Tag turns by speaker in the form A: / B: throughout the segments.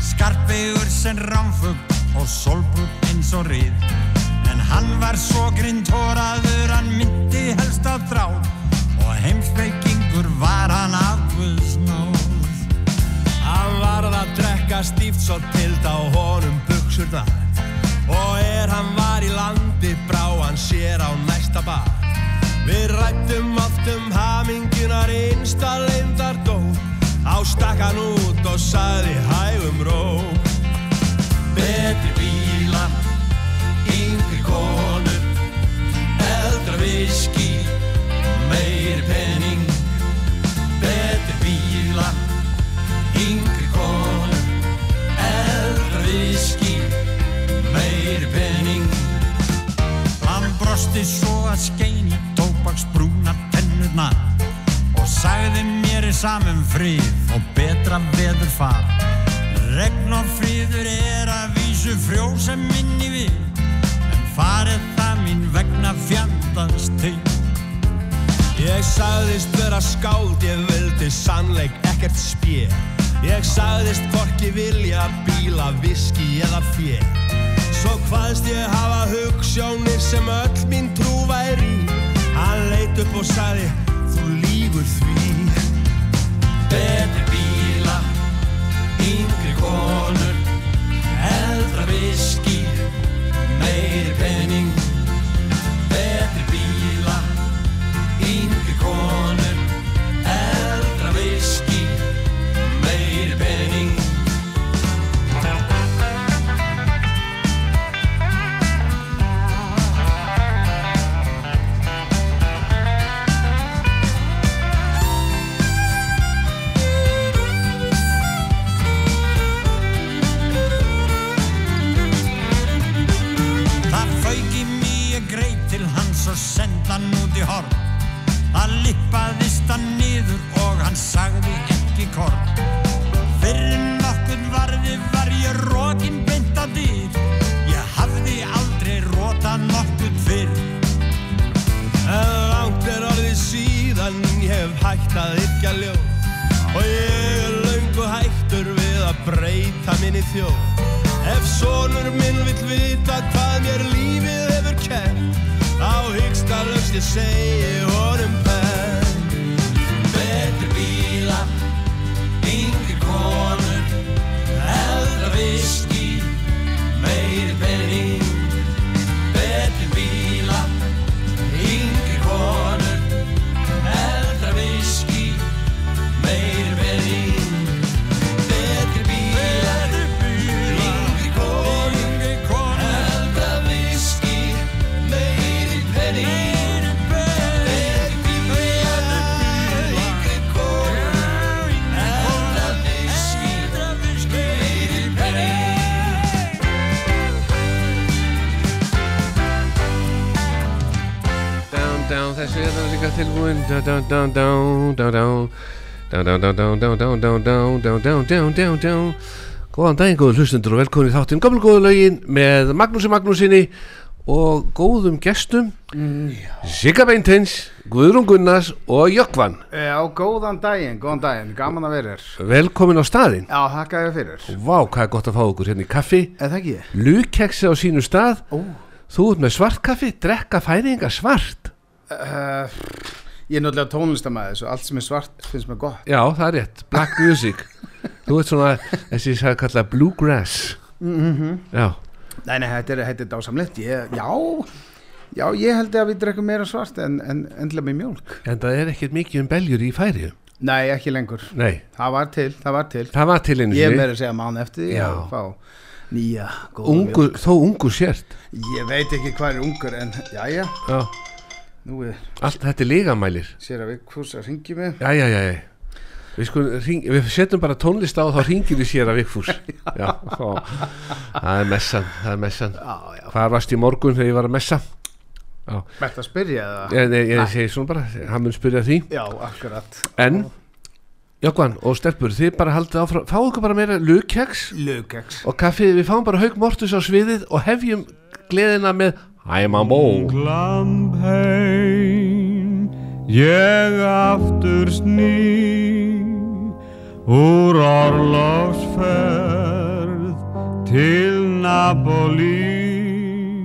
A: Skarpegur sem rámfug og solbrútt eins og rið En hann var svo grindhóraður, hann myndi helst að þrá Og heimsbyggingur var hann af guðsnóð
B: Hann varð að drekka stíft svo til á honum buksurnar Og er hann var í landi brá hann sér á næsta bar Við rættum oft um hamingunar einsta leindar dó Á stakkan út og sagði hægum ró Betri bíla, yngri konur Eldra viski, meiri penning Betri bíla, yngri konur Eldra viski, meiri penning
A: Hann brosti svo að skein í tópaksbrúna tennurna og sagði mér er samum fríð og betra veður far. Regn og fríður er að vísu frjósem minni við en farið það mín vegna fjandans til.
B: Ég sagðist vera skáld, ég vildi sannleik ekkert spjé Ég sagðist hvorki vilja bíla, viski eða fjé Svo hvaðst ég hafa hugsjónir sem öll mín trú væri í. Hann leit upp og sagði, þú lífur því Betri bíla, yngri konur, eldra viski, meiri penning Betri bíla, yngri konur, eldra viski, meiri penning.
A: Það fauk í mig, ég greip til hans og senda hann út í horn. Það lippaðist hann niður og hann sagði ekki korn. Fyrir nokkurn varði var ég rókin beint að dýr. Ég hafði aldrei róta nokkurn fyrr.
B: En langt er orðið síðan ég hef hægt að yrkja ljóð Og ég er löngu hættur við að breyta minni þjóð Ef sonur minn vill vita hvað mér lífið hefur kent Þá hyggst að lögst ég segi honum bent Betri bíla, yngri konur, eldra viski, meiri penning Betri bíla, yngri konur, eldra viski, meiri penning Betri bíla, yngri konur, eldra viski, meiri penning Betri bíla, yngri konur, eldra viski, meiri penning
C: Down, down, þessi er það líka tilbúin Down, down, down, down, down, down Down, down, down, down, down, down, down, down, down, down, down, down, down Góðan daginn, góðu hlustendur og velkomin í þáttinn Gömlu góðu lögin með Magnúsi Magnúsinni og góðum gestum Sigga Beintins, Guðrún Gunnars og Jökvan
D: Já, Eh, góðan daginn, góðan daginn, gaman að vera hér
C: Velkomin á staðinn
D: Já, þakka þér fyrir
C: Vá, hvað er gott að fá okkur hérna í kaffi
D: Eða ekki ég?
C: Lugkeksi á sínu stað
D: Ó.
C: Þú ert með svart kaffi, drekka færinga svart
D: Uh, ég er náttúrulega tónlistamæður svo allt sem er svart finnst mér gott
C: Já, það er rétt, black music Þú ert svona, þessi ég sagði kalla bluegrass -hmm. Já,
D: Nei, nei, þetta er, þetta er dásamlegt ég, Já, já, ég held að við drekkum meira svart en, en endla með mjólk
C: en það er ekkert mikið um beljur í færiðum
D: Nei, ekki lengur
C: Nei,
D: Það var til, það var til
C: það var til einu
D: Ég er
C: sinni.
D: meira að segja mann eftir því
C: Já.
D: að fá nýja, góða
C: ungur, Þó ungur sért
D: mjólk Ég veit ekki hvað er ungur en, já, já,
C: Já,
D: nú er
C: allt þetta er lígamælir
D: sér að við kvúsa ringi mig
C: Já, já, já, já. Við, sko, hring, við setjum bara tónlist á og þá ringir við sér að vikfús Já, þá, það er messan, það er messan
D: Já, já,
C: Hvað varst í morgun þegar ég var að messa?
D: bært að spyrja það
C: Ég, ég, ég segi svona bara, hann mun spyrja því
D: Já, akkurat
C: En, Jökvan og Stelpur, þið bara haldið áfram Fá okkur bara meira lukjaks
D: Lugeks
C: og kaffið, við fáum bara Hauk Mortus á sviðið og hefjum gleðina með I'm a mó
E: Glamp heim ég aftur sný úr orlofsferð
F: til Napoli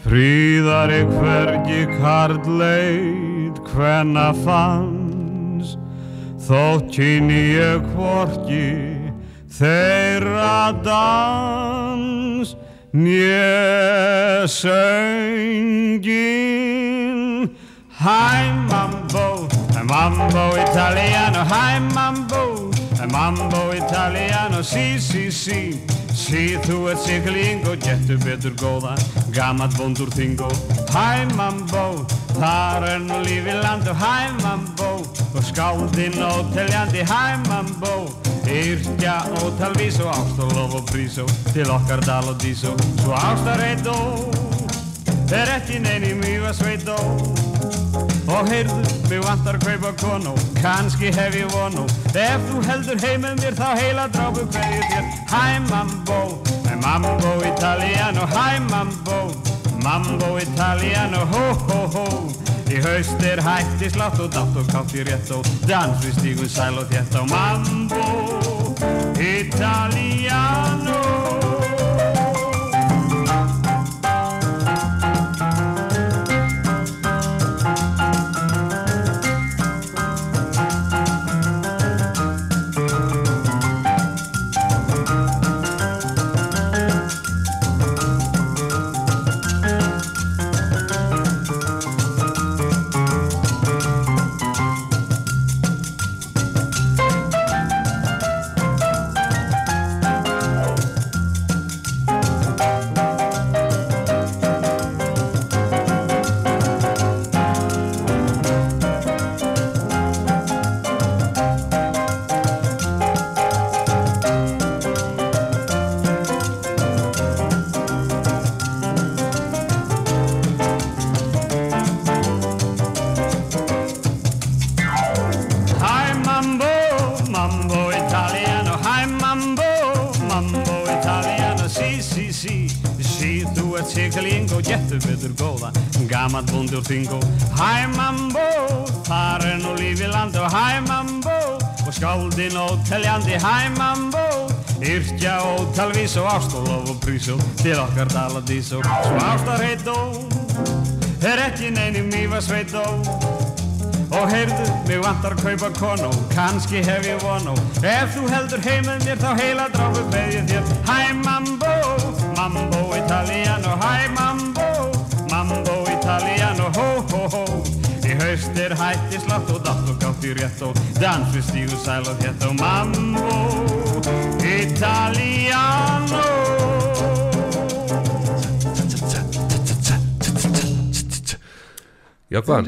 F: Fríðar ég hvergi karleit hvenna fanns Þótt kynni ég hvorki þeirra dans Né söngin Hæ mambo, hæ mambo italiano Hæ mambo, hæ mambo italiano Sí, sí, sí, sí þú ert sigling og getur betur góða Gamalt vondur þingo Hæ mambo, þar er nú lífið landu Hæ mambo, og skáldin óteljandi Hæ mambo, yrkja ótalvís og ást og lof og prísó Til okkar dal og dísó, svo ástareitó Er ekki neinn í mýfarsveit og Og heyrðu, mig vantar að kaupa konu Kanski hef ég vonu Ef þú heldur heim með mér þá heila drápu hverju þér Hæ mambo, hæ mambo italiano Hæ mambo, mambo italiano Hó hó hó Í haust er hætti slátt og dátt og kátt í rétt og dans við stígum sæl og þétt á mambo italiano Hi mambo, mambo italiano Hi mambo, mambo italiano Sí, sí, sí, sí, þú ert sigling og getur betur góða Gamalt vondur þingo Hi mambo, þar er nú lífið land og Hi mambo, og skáldin óteljandi Hi mambo, yrkja ótalvís og ást og lof og prísó Til okkar dala dísó, svo ástar heitó Er ekki neinn í mýfarsveitó Og heyrðu, mig vantar að kaupa konu Kanski hef ég vonu Ef þú heldur heim með mér þá heila dráfu með ég þér Hæ mambo, mambo italiano Hæ mambo, mambo italiano Hó, hó, hó Í haust er hætti slátt og dátt og gátt í rétt og dans við stígu sæl og þétt og mambo italiano
C: Jókvan,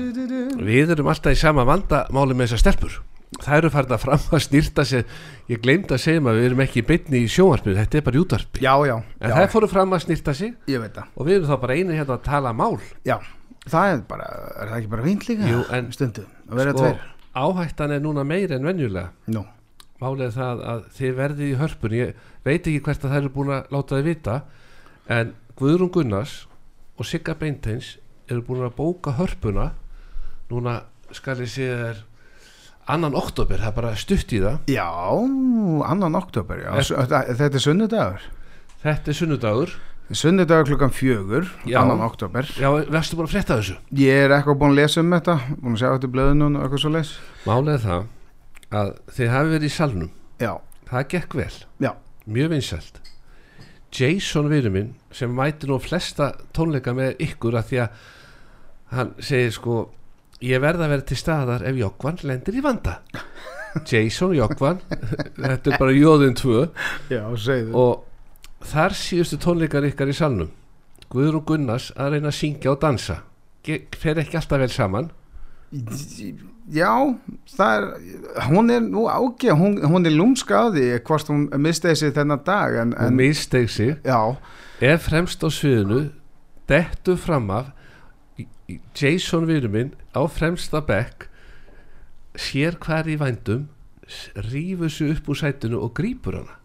C: við erum alltaf í sama vandamáli með þessar stelpur Það eru farin að fram að snýrta sér Ég gleymd að segja maður, við erum ekki í beinni í sjónvarpinu Þetta er bara í útvarpi
D: já, já,
C: En
D: já,
C: það fóru fram að snýrta sér
D: ég veit það
C: Og við erum þá bara einu hérna að tala mál
D: já, það er bara, er það ekki bara fínt líka
C: Jú, en-
D: stundum, að vera
C: Sko,
D: tveir
C: áhættan er núna meir en venjulega
D: nú,
C: Málið er það að þið verðið í hörpun Ég veit ekki hvert að það eru búin að láta þið vita En Guðrún Gunnars og Sigga Beinteins eru búin að bóka hörpuna Núna skal ég segja þér annan oktober, það er bara stutt í það
D: já, annan oktober já, s- þetta þetta er sunnudagur
C: Þetta er sunnudagur
D: sunnudagur klukkan fjögur
C: Já.
D: annan oktober,
C: Já, verðstu bara að frétta þessu
D: ég er eitthvað búin að lesa um þetta búin að sjá þetta í blöðinu og eitthvað svo leys
C: Málið er það að þið hafi verið í salnum
D: já,
C: Það gekk vel,
D: já,
C: mjög vinsælt Jason vinur minn sem mæti nú flesta tónleika með ykkur að því að hann segir sko ég verð að vera til staðar ef Jókvan lendir í vanda Jason Jókvan þetta er bara jóðin tvö
D: já, segðu
C: og þar síðustu tónleikar ykkar í salnum Guðrún Gunnars að reyna að syngja og dansa Ge- fer ekki alltaf vel saman
D: Já, það er, hún er nú ágæð, hún, hún er lúmska á því hvort hún mistiði sig þennan dag en,
C: en, og
D: en
C: misteg sig
D: já,
C: er fremst á sviðinu dettu fram af í- í- Jason vinur minn á fremsta bekk sér hvað er í vændum s- rífur sig upp úr sætinu og grípur hana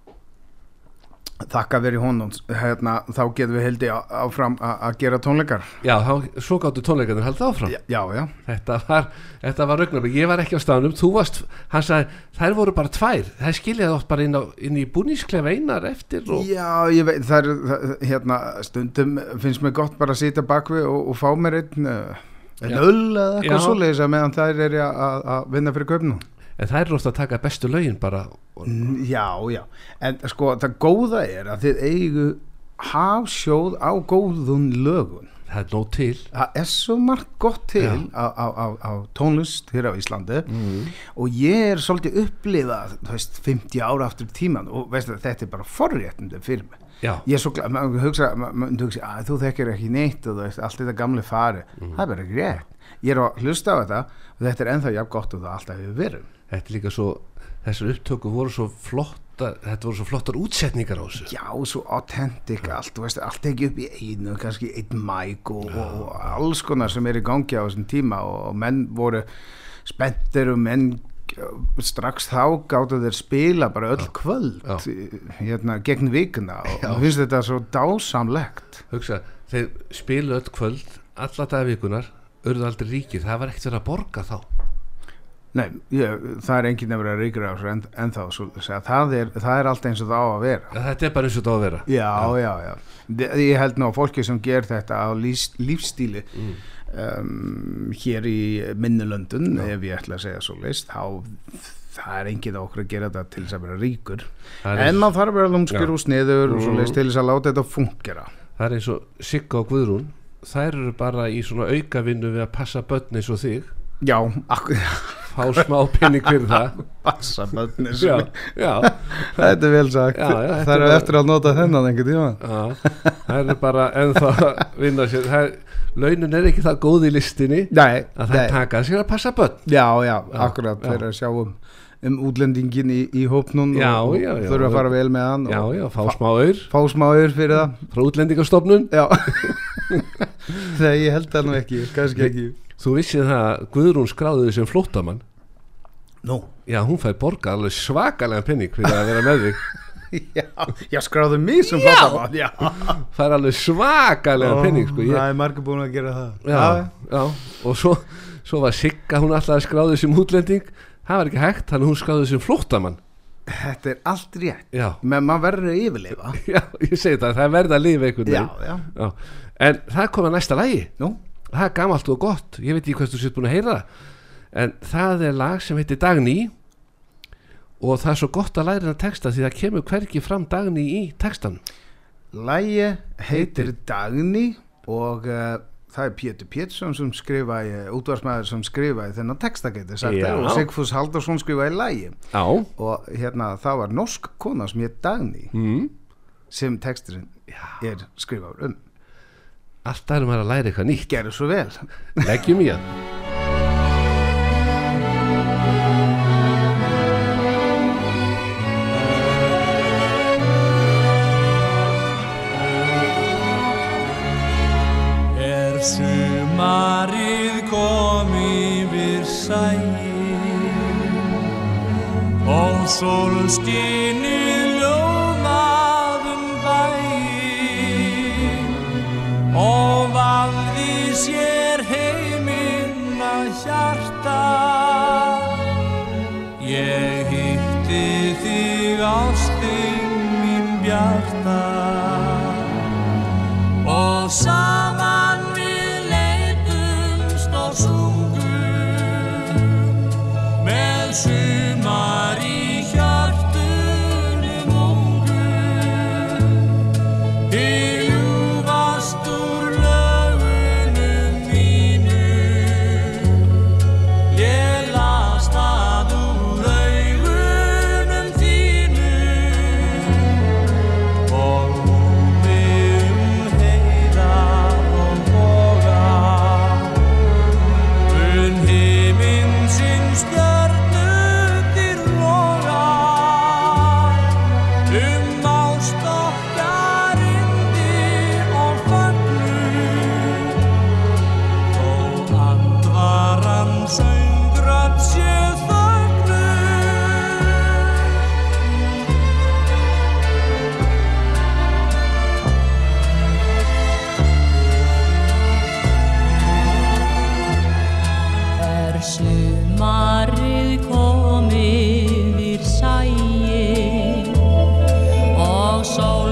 D: þakka verið honum hérna, þá getum við heldi á- áfram a- að gera tónleikar
C: Já, þá, svo gáttu tónleikarnir haldið áfram
D: já, já, já,
C: Þetta var, þetta var augnablik, ég var ekki á staðnum, þú varst, hann sagði, þær voru bara tvær, þær skiljaði oft bara inn, á, inn í búnísklefa einar eftir og
D: já ég veit það er, það- hérna, stundum finnst mér gott bara að sitja bakvið og, og fá mér einn uh, einn
C: Já.
D: öll eða eitthvað
C: Já.
D: svoleiðis að meðan þær er ég að, að vinna fyrir kaupnum
C: en þær eru ofta að taka bestu lögin bara og,
D: Mm. já, já, en sko það góða er að þið eigu hafsjóð á góðun lögun
C: það er nóg til.
D: það er svo margt gott til
C: Já. Mm.
D: á, á, á, á tónlist hér á Íslandi og ég er svolítið upplifað þú veist, 50 ára aftur í tíman og veist, þetta er bara forréttandi fyrir mig
C: Já,
D: ég er svo glæð, maður hugsa, maður- maður hugsa að þú þekkir ekki neitt og þú veist, allt þetta gamli fari
C: Mm.
D: það er bara ekki rétt ég er að hlusta á þetta og þetta er ennþá jafn gott og það alltaf hefur verið
C: þetta er líka svo, þessar upptöku voru svo flottar, þetta voru svo flottar útsetningar á þessu.
D: já, svo authentic allt, þú veist, allt ekki upp í einu kannski einn mæk og, og, og alls konar sem er í gangi á þessum tíma og, og menn voru spenntir og menn uh, strax þá gáttu þeir spila bara öll kvöld
C: Já.
D: hérna gegn vikuna og mér finnst þetta svo dásamlegt
C: Hugsa, þeir spilu öll kvöld, alla dagvikunar, urðu aldrei ríkir, það var ekkert verið að borga þá.
D: Nei, ég, það er enginn að vera ríkur á þessu en, ennþá, svo, það, er, það er allt eins og það á að vera
C: Þetta er bara eins og það á að vera.
D: já, já, já De- ég held nú að fólki sem ger þetta á lífs, lífstíli
C: Mm.
D: um, hér í minnulöndun ef ég ætla að segja svo leist þá það er enginn á okkur að gera þetta til þess að vera ríkur
C: Það er,
D: en maður þarf að vera lúmskur
C: Já.
D: og sniður og svo
C: Mhm.
D: leist til þess að láta þetta fungera
C: það er eins og Sigga og Guðrún, þær eru bara í svona aukavinnu við að passa börn eins og þig.
D: já, akkur
C: fá smá penning fyrir það
D: passa börnir
C: já,
D: svo-
C: já,
D: þetta er vel sagt
C: Já, já, þetta
D: það
C: er-
D: er eftir að nota þennan einhvern tíma
C: já það er bara ennþá að vinna sér það, launin er ekki það góð í listinni
D: nei,
C: að það
D: nei.
C: taka sér að passa börn
D: Já, já,
C: Já,
D: akkurat
C: já.
D: þeir að sjá um, um útlendingin í, í hópnum
C: Já,
D: og,
C: já, já.
D: og þurfa að fara vel með hann
C: já,
D: og
C: já, fá smá aur
D: fá smáður fyrir það
C: frá útlendingastofnun
D: Já Nei, ég held það nú ekki, kannski ekki
C: þú vissið það að Guðrún skráði þig sem flóttamann
D: Nú
C: já, hún fær borga alveg svakalega penning fyrir að vera með þig
D: Já, já skráðu mig sem flottamann Já,
C: fær alveg svakalega penning sko. ég,
D: Það er margur búin að gera það
C: já, já, og svo, svo var Sigga hún alltaf að skráði sem útlending það var ekki hægt, þannig að hún skráði sem flóttamann
D: Þetta er allt rétt
C: já,
D: menn maður verður að yfirleifa
C: já, ég segi það, það verða að lifa einhvern
D: Já,
C: veginn
D: já,
C: Já, en það kom að næsta lagi
D: nú
C: Það er gamalt og gott, ég veit ekki hvað þú sétt búin að heyra það En það er lag sem heitir Dagný Og það er svo gott að læra hann texta Því það kemur hvergi fram Dagný í textan
D: Lægi heitir Dagný og uh, það er Pétur Pétursson sem skrifaði, útvarsmaður sem skrifaði þennan texta getur sagt
C: Já.
D: er og Sigfús Haldarsson skrifaði lægi
C: Já
D: og hérna það var norsk kona sem heit Dagný
C: mm.
D: sem texturinn er skrifaður um.
C: Alltaf erum maður um að læra eitthvað nýtt
D: Gerðu svo vel.
C: Leggjum í hann
B: Er sumarið komið við sæl Og sólskinni ljómaðum bæl Og valði sér heiminn að hjarta Ég hitti þig ástin mín bjarta og saman við leitumst og sungum með sumar í hjartunum ungum Þið ljúfast úr lögunum mínum ég las það úr augunum þínum og
A: Um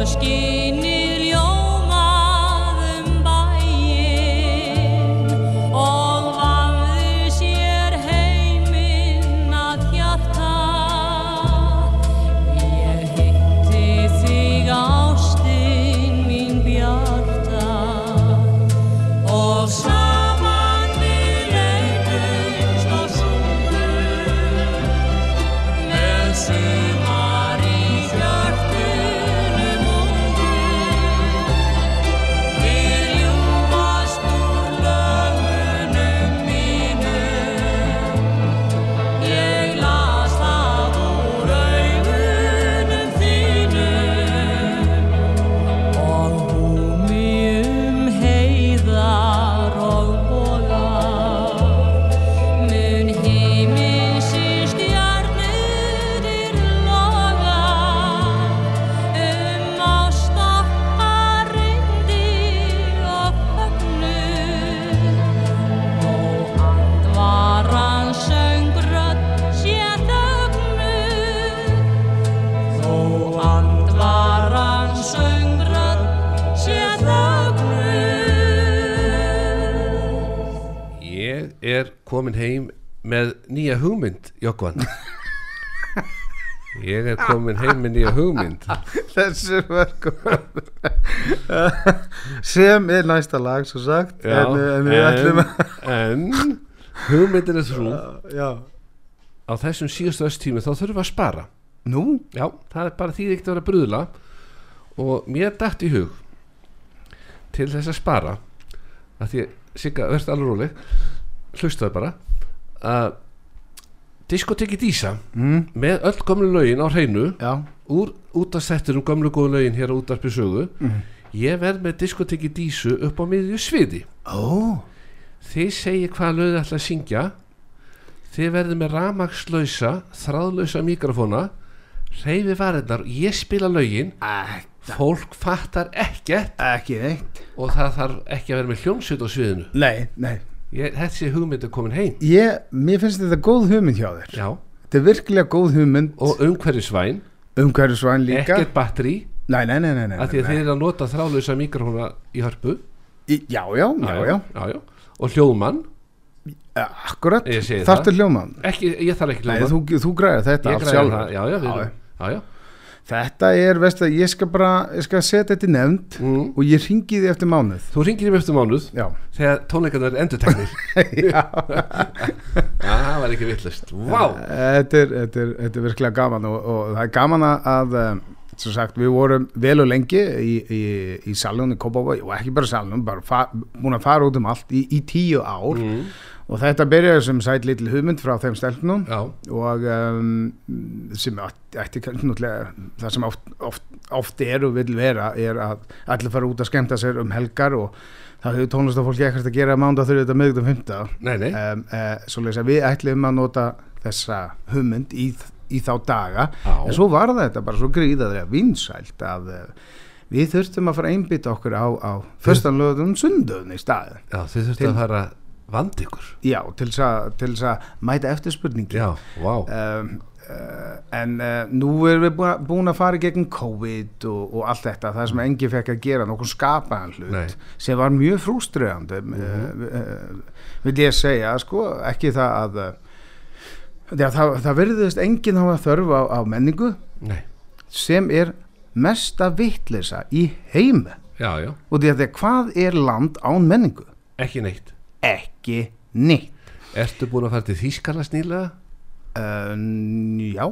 G: skinið ljómað um bæinn og vafði sér heiminn að hjarta. Ég hitti þig ástinn mín bjarta og saman við leitumst og sungum með sumar í hjörtunum ungum við ljúfast úr lögunum mínum ég las það úr augunum þínum og húmi um heiðar og bolar mun heiminsir stjarnurir loga um ástakkar reyndi og höfnu og andvar hans söngrödd sé þögnu Þó andvaran söngrödd sé þögnuð.
C: Ég er komin heim með nýja hugmynd, Jokkvan Ég er komin heim með nýja hugmynd
D: þessu verkum sem er næsta lag svo sagt en, eh, en við ætlum að
C: en hugmyndin er þrú
D: já.
C: á þessum síðustu östími þá þurfum við að spara
D: nú,
C: Já, það er bara því ekkert að vera brúðla og mér dætt í hug til þess að spara að því, Sigga, verðst alveg róli hlustaðu bara að diskoteki Dísa
D: mm,
C: með öll gömlu lögin á hreinu
D: já,
C: úr út að settir um gömlu góðu lögin hér á útarpi sögu ég verð með diskoteki Dísu upp á miðju sviði
D: ó
C: þið segir hvaða lögðu ætla að syngja þið verður með ramagslausa þráðlausa mikrofóna reyfi varirnar, ég spila lögin
D: ek,
C: fólk fattar ekkert
D: ekki neitt
C: og það þarf ekki að vera með hljómsveit á sviðinu
D: nei, nei
C: ég, þessi hugmynd er komin heim
D: ég, mér finnst þetta góð hugmynd hjá þér
C: Já.
D: þetta er virkilega góð hugmynd
C: og umhverfisvæn,
D: umhverfisvæn líka
C: ekkert batteri
D: nei, nei, nei, nei, nei,
C: af því að
D: nei.
C: þeir eru að nota þráðlausa mikrofóna í hörpu
D: Í, já, já, já, já,
C: já, já. og hljóðmann
D: akkurat
C: Ég segi
D: þarftu
C: það.
D: hljóman
C: ekki, ég þarf ekki
D: nei,
C: hljóðmann
D: þú, þú græðir þetta
C: ég
D: allt
C: græði
D: sjálfur.
C: það, já, já, við,
D: Já, já.
C: erum- já, já.
D: þetta er, veist að ég skal bara ég skal setja þetta í nefnd
C: Mm.
D: og ég ringi því eftir mánuð
C: þú ringir í mjöftum mánuð
D: já,
C: þegar tónleikarnar er endurteknir
D: já.
C: Já, það var ekki vittlust Vá,
D: þetta, er, þetta, er, þetta er virkilega gaman og, og það er gaman að- að um, sem sagt, við vorum vel og lengi í, í, í salunum í Kópavói og ekki bara salunum, bara fa- búin að fara út um allt í, í tíu ár
C: Mm.
D: og þetta byrjaði sem sætt litil hugmynd frá þeim stelpnum
C: já,
D: og um, sem ætti, ætti kannski náttúrulega það sem oft, oft, oft er og vil vera er að allir fara út að skemmta sér um helgar og það hefur tónlistafólki ekkert að gera mánda þurfið þetta miðgdum fymta
C: nei, nei
D: um, uh, svo að við ætlum að nota þessa hugmynd í, í þá daga
C: Já.
D: en svo var það þetta bara svo gríðaðlega vinsælt að uh, við þurftum að fara að einbytta okkur á, á fyrstanlöðum sundöðun í staðin
C: Já, þið þurftu
D: Til-
C: að fara vand ykkur
D: já, til þess að- til þess að mæta eftirspurningi
C: Já, vá,
D: um, uh, en uh, nú erum við búin- búin að fara í gegn COVID og, og allt þetta, það sem engi fekk að gera nokkuð skapaðan hlut
C: Nei. sem
D: sem var mjög frúströðandi mm vil ég segja, sko ekki það að uh, já, það, það verðist enginn hafa þörf á, á menningu
C: Nei,
D: sem er mesta vitleisa í heimi
C: já, já,
D: og því að því að hvað er land án menningu?
C: ekki neitt
D: Ekki neitt
C: Ertu búin að fara til Þýskarlands nýlega?
D: uh, Já,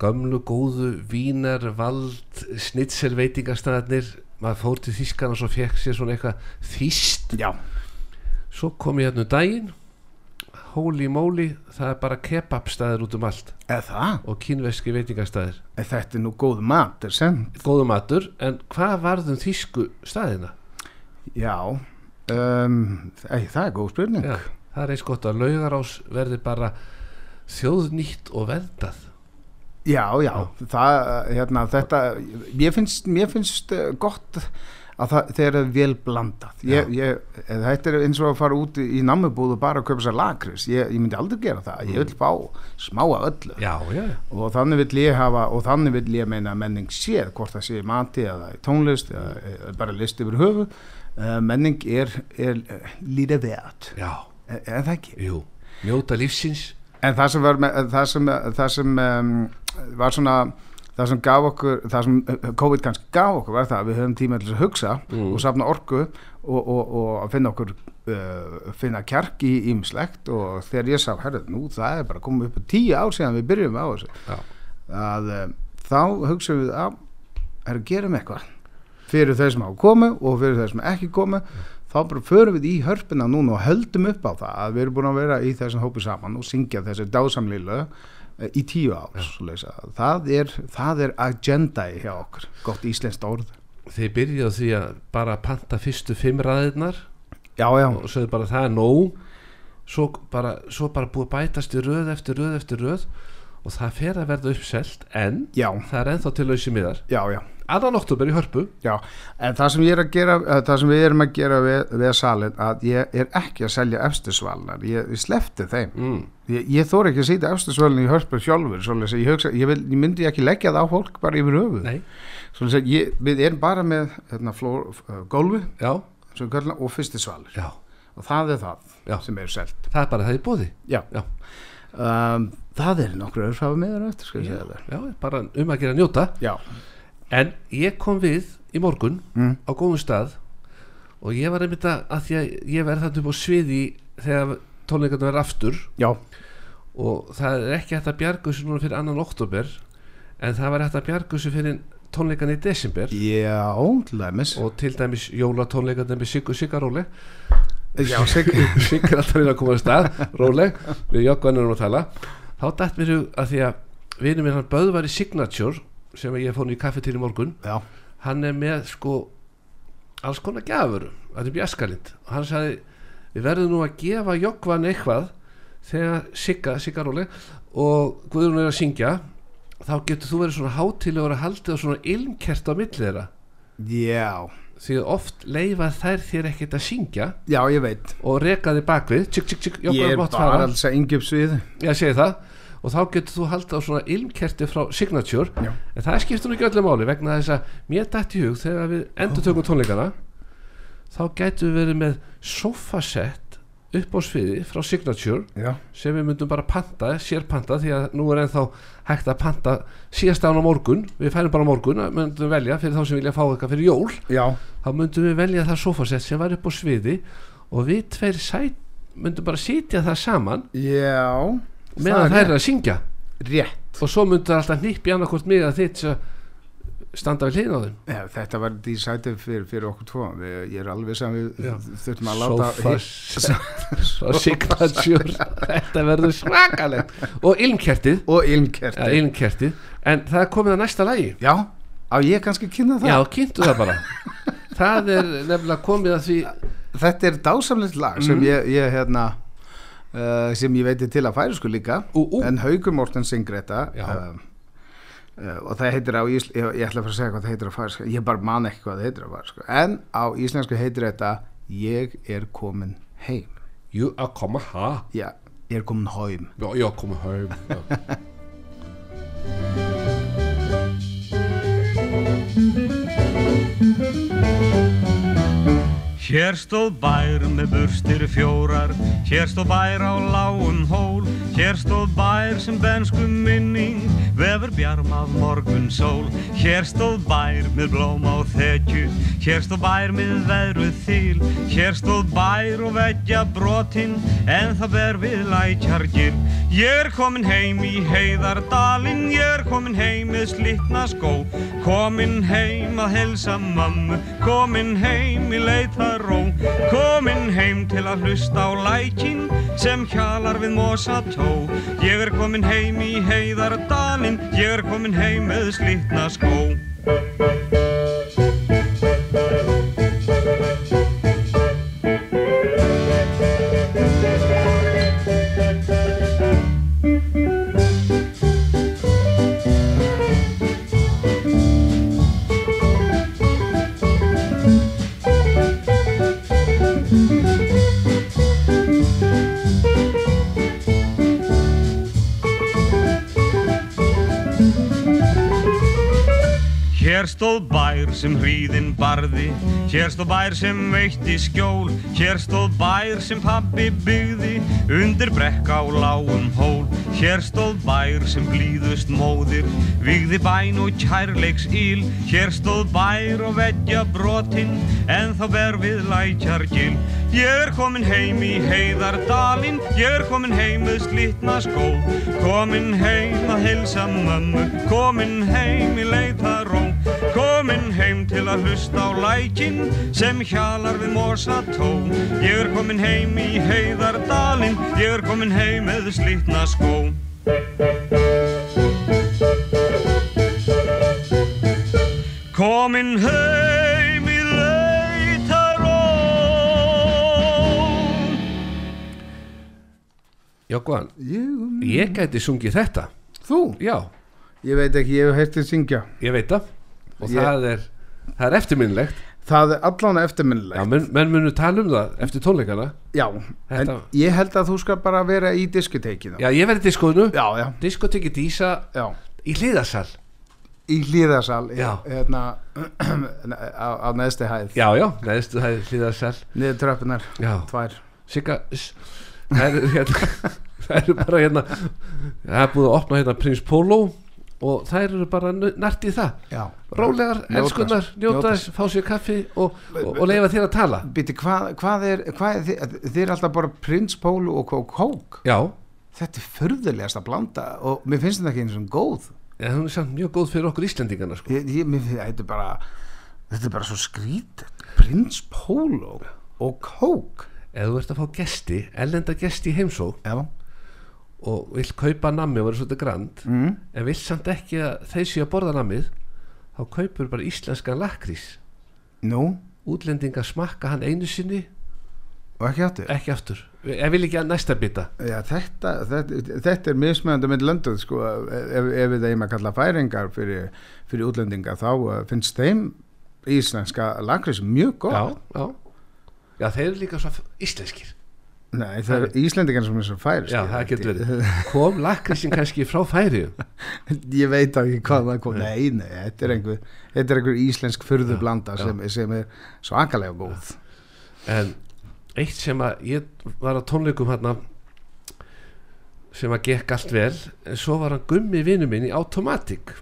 C: Gömlu, góðu, vínar, vald Snitzer veitingastæðarnir Maður fór til Þýskarlands og fekk sér svona eitthvað Þýst
D: já,
C: Svo kom ég hérna um daginn Holy moly, það er bara kebabstæðir út um allt
D: eða það
C: Og kínveski veitingastæðir
D: En þetta er nú góð mat, er sem
C: Góðu matur, en hvað varðum þýsku staðina?
D: Já um, ei, Það er góð spurning
C: Já, það er eins gott að laugarás verði bara þjóðnýtt og verndað
D: Já, já, Það, hérna, þetta, mér finnst, mér finnst eh, gott að það, þeir eru vel blandað ég, ég, eða þetta er eins og að fara út í, í námubúð og bara að kaupa sér lakris ég, ég myndi aldrei gera það, ég vil fá smáa öllu
C: Mm. já, já,
D: og þannig vill ég hafa og þannig vill ég meina að menning sé hvort það sé í mati eða í tónlist eða,
C: Mm.
D: eða bara list yfir höfu uh, menning er, er eh, lítið veat
C: já,
D: en það ekki
C: jú njóta lífsins
D: en það sem var með, það sem, það sem um, var svona það sem gaf okkur, það sem uh, COVID kannski gaf okkur var það að við höfum tíma til þess að hugsa og safna orku og, og, og að finna okkur uh, finna kjark í ímslegt og þegar ég sá, herrðu, nú það er bara komið upp á tíu ár síðan við byrjum á þessu
C: Já.
D: að um, þá hugsaum við að er að gerum eitthvað fyrir þau sem hafa komið og fyrir þau sem ekki komið þá bara förum við í hörpina núna og höldum upp á það að við erum búin að vera í þessum hópi saman og syngja þessi dásamli lög eh, í tíu ár ja. það, er, það er agenda hjá okkur, gott íslenskt orð
C: þið byrjuðu á því að bara panta fyrstu fimm ræðirnar
D: já, já,
C: og sögðu bara það er nóg svo bara, svo bara búið að bætast í röð eftir röð eftir röð og það fer að verða uppselt en
D: já,
C: það er ennþá til lausi miðar
D: já, já
C: annan oktober í hörpu
D: Já, en það sem, ég er að gera, eh, það sem við erum að gera við, við salin að ég er ekki að selja efstisvalnar, ég, ég slefti þeim
C: mm.
D: ég, ég þóra ekki að sýta efstisvalnar í hörpur sjálfur, svoleiðis að ég, hugsa, ég, vil, ég myndi ekki leggja það á fólk bara yfir höfuð
C: nei,
D: Svoleiðis að ég, við erum bara með hérna, flór, uh, gólfi
C: já,
D: sem við köllum, og fyrstisvalir
C: já
D: og það er það
C: Já.
D: sem er selt
C: það er bara það í bóði
D: Já,
C: Já.
D: Um, það er nokkru örfafa meður eftir skal ég segja þér.
C: já, bara um að gera njóta
D: Já,
C: en ég kom við í morgun
D: Mm.
C: á góðum stað og ég var einmitt að, að því að ég verð þarna upp á sviði þegar tónleikarnar verða aftur
D: já,
C: og það er ekki hægt að bjarga þessu núna fyrir annan oktober en það var hægt að bjarga þessu fyrir tónleikan í desember
D: já, til dæmis
C: og til dæmis jólatónleikan með Siggu Siggaróli
D: Já, sig,
C: Sigga er alltaf hérna að koma að stað, róleg við Jökvann erum að tala þá dætt mér hug að því að vinur mér hann Böðvar í Signature sem ég fór nú í kaffi til í morgun
D: já,
C: hann er með sko alls konar gjafur þetta er bjaskalind og hann sagði við verðum nú að gefa Jokvan eitthvað þegar Sigga, Sigga Róli og Guðrún er að syngja þá getur þú verið svona hátilegur að haldið og svona ilmkert á milli þeirra
D: já
C: því að oft leifa þær þér ekkert að syngja
D: Já, ég veit
C: og reka þig bakvið tjik, tjik, tjik,
D: Ég
C: Jokvan
D: er
C: er bótt
D: bara
C: fara
D: alls að yngjöpsvið
C: ég segi það og þá getur þú haldið á svona ilmkerti frá Signature
D: Já.
C: en það skiptir nú ekki öllu máli vegna þess að mér dætt í hug þegar við endur tökum tónleikana þá gætum við verið með sofasett upp á sviði frá Signature
D: Já,
C: sem við myndum bara panta, sér panta því að nú er ennþá hægt að panta síðast án á morgun, við færum bara á morgun að myndum velja fyrir þá sem vilja fá eitthvað fyrir jól
D: já,
C: þá myndum við velja það sofasett sem var upp á sviði og við tveir sæt, myndum bara sitja það saman
D: já
C: meðan
D: Það
C: þær
D: er
C: eru að syngja
D: Rétt
C: og svo myndur alltaf hnippi annarkvort mig að þitt að standa við hliðin á þeim
D: Já, Þetta var því sætið fyrir, fyrir okkur tvo við, Ég er alveg sem við
C: Já.
D: þurftum að láta
C: Sofa Signature Þetta verður svakalegt Og ilmkertið
D: Og ilmkert
C: ja, Ilmkertið En það er komið að næsta lagi
D: Já, á ég kannski kynna það
C: Já, kynntu það bara Það er nefnilega komið að því
D: Þetta er dásamlegt lag
C: Mhm.
D: sem ég, ég hérna Uh, sem ég veiti til að færa sko líka
C: Ú, ú.
D: en Haugur Morten syngur þetta
C: Já.
D: uh, uh, og það heitir á ísl ég, ég ætla að fara að segja hvað það heitir á færa sko ég bara man ekki hvað það heitir á færa sko en á íslensku heitir þetta ég er komin heim
C: Jú, að koma ha
D: já, ég er komin heim
C: Já, já, koma heim já.
E: Hér stóð bær með burstir fjórar, hér stóð bær á lágum hól, hér stóð bær sem benskum minning, vefur bjarm af morgun sól. Hér stóð bær með blóm á þekju, hér stóð bær með veðruð þýl, hér stóð bær og veggja brotinn, en það ber við lækjargir. Ég er komin heim í heiðardalinn, ég er komin heim með slitna skó, komin heim að helsa mammu, komin heim í leitaró, komin heim til að hlusta á lækin sem hjalar við mosató. Ég er komin heim í heiðardalinn, ég er komin heim með slitna skó. Hér stóð bær sem hríðin barði Hér stóð bær sem veitti skjól Hér stóð bær sem pabbi byggði Undir brekk á lágum hól Hér stóð bær sem blíðust móðir Vigði bæn og kærleiks íl Hér stóð bær og veggja brotin En þá ber við lækjargil Ég er komin heim í heiðardalinn Ég er komin heim með slitna skó Komin heim að heilsa mömmu Komin heim í leitaró Komin heim til að hlusta á lækin Sem hjalar við mosa tó Ég er komin heim í heiðardalinn Ég er komin heim með slitna skó Komin heim í leitaró
C: Jókvan,
D: Ég,
C: ég gæti sungið þetta
D: þú?
C: Já,
D: Ég veit ekki, ég hef heyrt þið syngja.
C: ég veit það Og
D: Ég-
C: það er, það er eftirminnilegt
D: Það er allan
C: Já,
D: eftirminnilegt.
C: menn, menn munu tala um það eftir tónleikana
D: Já, en
C: Þetta-
D: ég held að þú skal bara vera í diskuteikinu.
C: Já, ég verði diskoðinu
D: já, já.
C: Diskotekki Dísa
D: já.
C: í hliðasal
D: Í hlýðasal,
C: Já.
D: hérna, á, á neðsti hæð,
C: Já, já, neðstu það er hliðasal
D: niður tröppunar,
C: Já,
D: tvær.
C: Sigga s- Það eru hérna Það eru bara hérna Það er búið að opna hérna Prins Póló Og þær eru bara nu- nært í það
D: Já.
C: Rólegar,
D: Njóta
C: elskunnar,
D: þess, njóta
C: njóta þess Fá sér kaffi og, og, og leifa þér að tala
D: Býti, hvað, hvað er, hvað er þið, þið er alltaf bara prins, pólu og kók, kók.
C: Já,
D: Þetta er furðulegast að blanda og mér finnst þetta ekki eins og góð.
C: en hún er samt mjög góð fyrir okkur Íslendingana sko.
D: Ég, ég, mér, finnst- þetta er bara, þetta er bara svo skrítið. Prins, pólu og kók.
C: Ef þú ert að fá gesti, ellenda gesti í heimsó
D: Já,
C: Og vill kaupa nammi og vera svolítið grand mm. En vill samt ekki að þeir séu að borða nammið Þá kaupur bara íslenskan lakrís
D: nú,
C: Útlendingar smakka hann einu sinni
D: og ekki áttu.
C: Ekki aftur, ég vil ekki að næsta bita
D: Já, þetta, þetta, þetta er mismöðandi með löndum sko, ef, ef við þeim að kalla færingar fyrir, fyrir útlendinga þá eh, finnst þeim íslenska lakrís mjög góð
C: já, já Já, þeir eru líka svo íslenskir
D: Nei, það eru íslendingar sem er svo færi
C: Já, það getur verið Kom lakrísin kannski frá færi
D: Ég veit ekki hvað það kom Nei, nei, þetta er einhver, þetta er einhver íslensk furðublanda
C: Já, já.
D: sem, sem er svakalega góð
C: En eitt sem að ég var á tónleikum hérna sem að gekk allt vel en svo var hann gummi vinnu minn í Automatic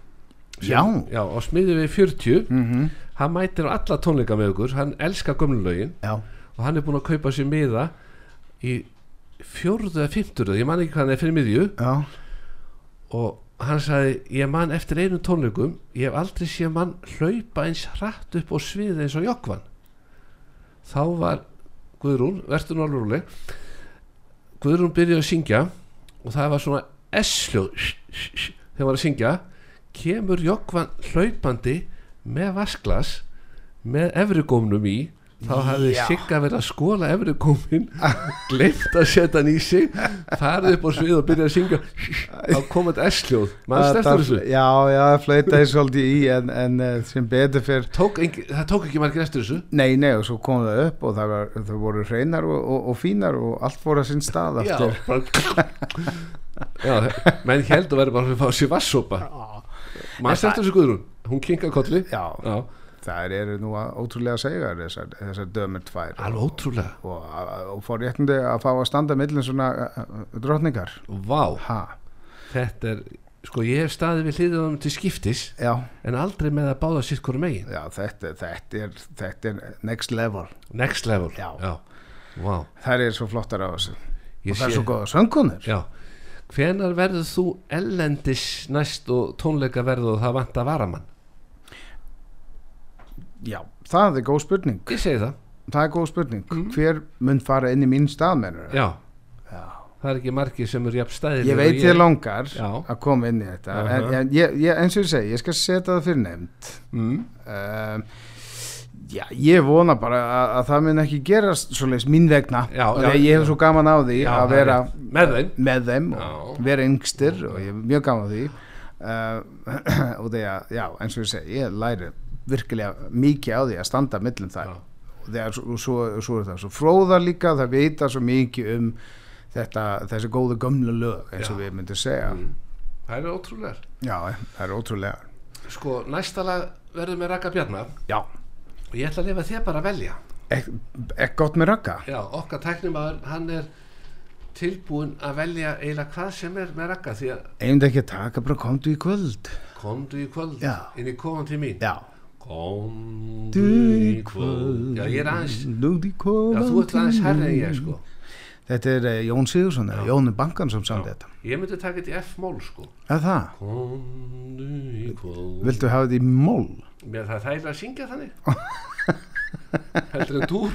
C: sem,
D: Já,
C: Já, á smiði við 40
D: Mhm.
C: hann mætir á alla tónleika með okkur hann elskar gömlulögin
D: já,
C: og hann er búinn að kaupa sér miða í fjórðu eða fimmturu ég man ekki hvað hann er fyrir miðju
D: já
C: og hann sagði ég man eftir einu tónleikum ég hef aldrei séð mann hlaupa eins hratt upp og sviðið eins og Jokvan þá var Guðrún, verður nú alveg rúli Guðrún byrjaði að syngja og það var svona S-hljóð þegar hann var að syngja kemur Jokvan hlaupandi með vasklas með efrigómnum í þá hafði
D: Já.
C: Sigga verið að skóla efrigómin gleift að setja hann í sig farið upp á svið og byrjaði að syngja þá kom þetta S-hljóð maður
D: Þetta-
C: steftur þessu
D: Já, já, flöyta ég svolítið í en, en eh, sem betur fyrr
C: tók engi, það tók ekki margir eftir þessu
D: Nei, nei, og svo kom það upp og það, var, það voru hreinar og, og, og fínar og allt voru að sinn stað
C: já,
D: aftur.
C: bara, já, menn held að vera bara að fá sér vassópa maður steftur þessu Guðrún hún kinka kolli
D: Já,
C: já,
D: það eru nú að- ótrúlega segar þessar, þessar dömur tvær
C: alveg ótrúlega
D: og, og fór réttindi að fá að standa millin svona uh, uh, drottningar.
C: vá,
D: Ha,
C: þetta er sko ég hef staðið við hliðið á þeim til skiptis
D: já,
C: en aldrei með að báða sitt hverju megin
D: já þetta, þetta, er, þetta er next level.
C: next level
D: Já.
C: Vá,
D: Það er svo flottar á þessu
C: ég
D: og það
C: sé-
D: er svo góða söngunir.
C: Já, hvenar verður þú ellendis næst og tónleika verður og það vant að vara mann?
D: Já, það er góð spurning.
C: Ég segi það,
D: Það er góð spurning.
C: Mhm.
D: Hver mun fara inn í mín stað, mennur?
C: já. Það er ekki margir sem eru jafn stæðir
D: ég veit ég langar
C: Já.
D: að koma inn í þetta
C: Aha.
D: en, en ég, ég, eins og ég segi, ég skal setja það fyrir nefnd
C: mm.
D: um, já, ég vona bara að, að það mun ekki gerast svoleiðis mín vegna
C: Já,
D: og
C: já,
D: þegar ég hef svo gaman á því
C: Já, það
D: að
C: er
D: vera
C: rétt. Með þeim.
D: með þeim og
C: Já.
D: vera yngstir og ég hef mjög gaman á því uh, og þegar, já, eins og ég segi ég læri virkilega mikið á um því að standa millum þær
C: Já.
D: og þegar svo, svo, svo er það svo fróðar líka það vita svo mikið um þetta, þessi góðu gömlu lög eins og
C: Já. Mm.
D: við myndum segja
C: Það eru ótrúlegar
D: já, það er ótrúlega
C: Sko, næsta lag verður með Raka Bjarna
D: Já,
C: og ég ætla að lifa þér bara að velja.
D: ekki ek gott með rögga
C: Já, okkar tæknimaður, hann er tilbúin að velja eiginlega hvað sem er með Raka því að
D: Einum ekki að taka, bara komdu í kvöld
C: komdu í kvöld
D: Já.
C: inn í komandi til mín.
D: Já
C: Komdu
D: Komdu
C: í
D: í
C: kvöld. Já, ég er aðeins,
D: Núði
C: já,
D: kvöld
C: þú ert aðeins herri en ég, sko.
D: Þetta er eh, Jón Sigursson, eða Jónu Bankan sem samdi þetta
C: Ég myndi taka þetta í F-mól, sko.
D: Er það?
C: Komdu í kvöld.
D: Viltu hafa þetta í mól?
C: Mér það er þægilega að syngja þannig Heldur en túr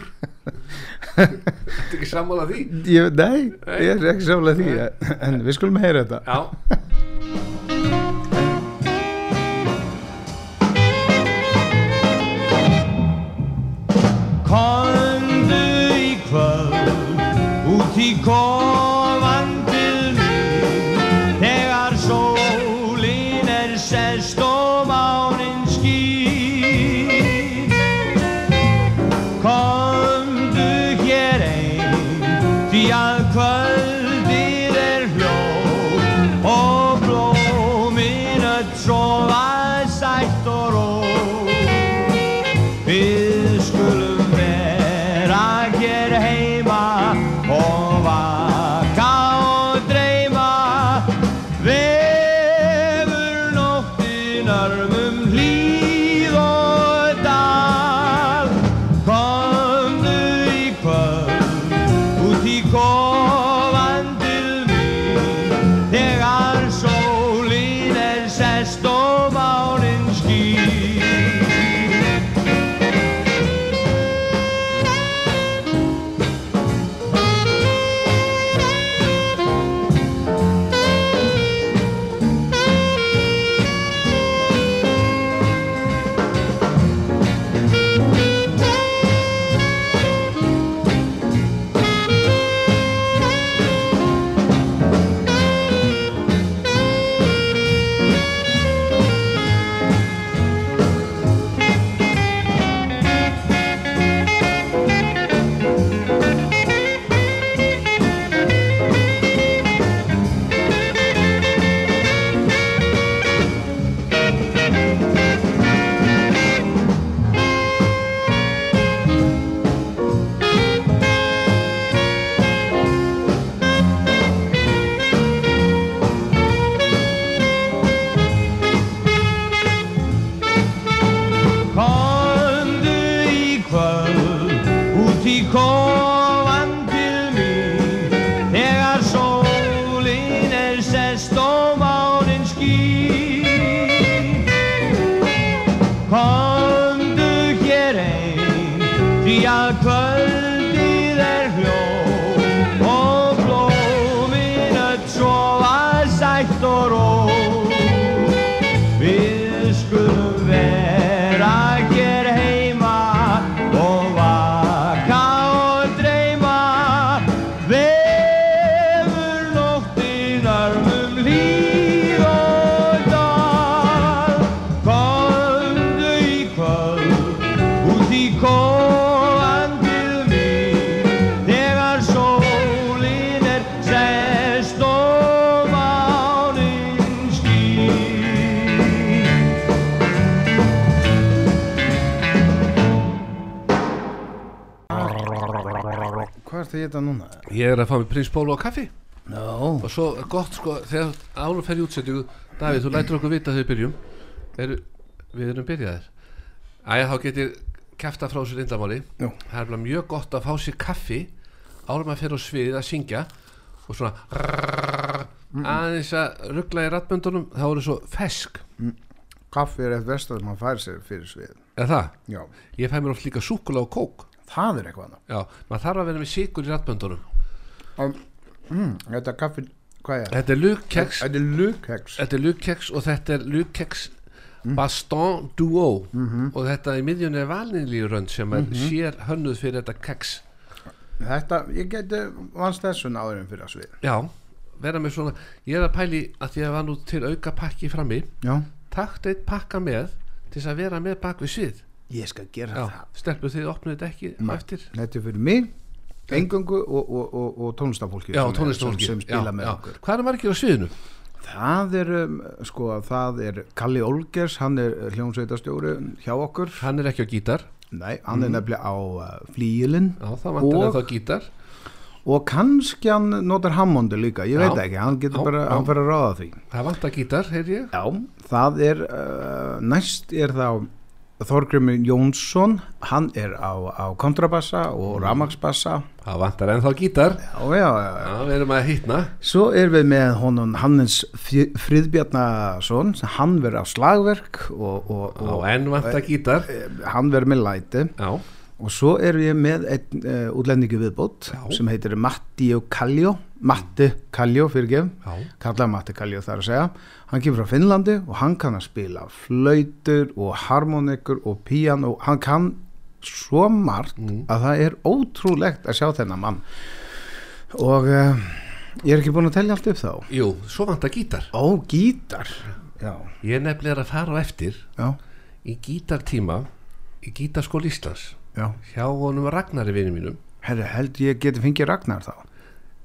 C: Þetta ekki sammála því
D: Ég, nei, ég er ekki sálega því En við skulum heyra þetta
C: Já
B: Komdu í kvöld út í kofan til mín þegar sólin er sest og mánin skýr Komdu hér ein því að kvöldið er hljóð og blómin öll sofa sætt og róð Við skulum vera hér heima og vaka og dreyma Vefur nóttin örmum hlýð og dal Komdu í kvöld út í kofan til mín Þegar sólin er sest og málinn skýr Komdu í kvöld út í kofan til mín Þegar sólin er sest og mánin skýr Komdu hér ein því að kvöldið er hljóð og blómin öll sofa sætt og róð Við skulum vera hér heima og vaka og dreyma Vefur nóttin örmum líf og dal Komdu í kvöld út í kóan til mín Þegar sólin er sest og mánin skýr
D: Hvað er þetta núna?
C: Ég er að fá mér prins Pólo og kaffi
D: No.
C: og svo er gott sko þegar álum fer í útsettingu Davíð, þú lætur okkur vita þegar við byrjum er, Við erum byrjaðir Æja, þá getur kæfta frá sér indamáli
D: Já.
C: Það er bara mjög gott að fá sér kaffi álum að fer á sviðið að syngja og svona aðeins að ruggla í rattböndunum þá eru svo fesk
D: Kaffi er eitt versta sem maður fær sér fyrir svið
C: Er það?
D: Já,
C: Ég fæ mér oft líka súkula og kók
D: það er eitthvað annað.
C: Já, maður þarf að vera með sigur í rattböndunum
D: mm, Þetta kaffi, hvað er það?
C: Þetta er lukkeks
D: Þetta er lukheks
C: Þetta er lukkeks og þetta er lukkeks
D: Mm.
C: Baston Duo
D: Mhm.
C: og þetta í miðjunni er valinlýrönd sem er sér hönnuð fyrir þetta keks
D: Þetta, ég geti vannst þessun áður en fyrir að svið
C: Já, vera með svona ég er að pæli að því að var nú til auka pakki frammi
D: Já,
C: takt eitt pakka með til þess að vera með bak við svið
D: ég skal gera
C: Já,
D: það
C: stelpur þið opnuðu þetta ekki á eftir
D: Þetta er fyrir mig, engungu og, og, og, og tónlistafólki
C: Já,
D: sem er-
C: tónlistólki
D: sem, sem spila með okkur
C: Hvað er margir á sviðinu?
D: Það er, um, sko, það er Kalli Olgers, hann er hljómsveitastjóri hjá okkur.
C: Hann er ekki á gítar
D: Nei, hann er nefnilega á uh, flíilinn
C: Mm. Já, það vantar
D: Og-
C: en þá gítar
D: og kannski hann notar Hammondu líka, ég
C: Já.
D: veit ekki, hann getur
C: Já,
D: bara,
C: já.
D: hann fer að ráða því.
C: Það vantar gítar, heyr ég
D: Já, það er uh, næst er þá Þorgrymur Jónsson hann er á, á kontrabassa
C: Mm.
D: og ramagsbassa
C: Það vantar ennþá gítar
D: já, já, já, já.
C: Já, við erum að hýtna
D: Svo er við með honum Hannes Fri- Friðbjarnason sem hann verður á slagverk og, og,
C: Á
D: og
C: enn vantar gítar
D: eh, hann verður með læti
C: Já,
D: og svo er við með einn uh, útlendingi viðbót
C: Já.
D: sem heitir Matti Kallio Matti Kallio fyrir
C: já,
D: kallaði Matti Kallio þar að segja hann kemur frá Finnlandi og hann kann að spila flautur og harmonikur og píano, hann kann svo margt að það er ótrúlegt að sjá þennan mann og uh, ég er ekki búin að telja allt upp þá
C: jú, svo vantar gítar
D: ó, gítar já,
C: Ég er nefnilega að fara á eftir
D: já,
C: í gítartíma í gítarskóli Íslands
D: já
C: hjá honum Ragnari vinnu mínum
D: herru, held ég geti fengið Ragnar þá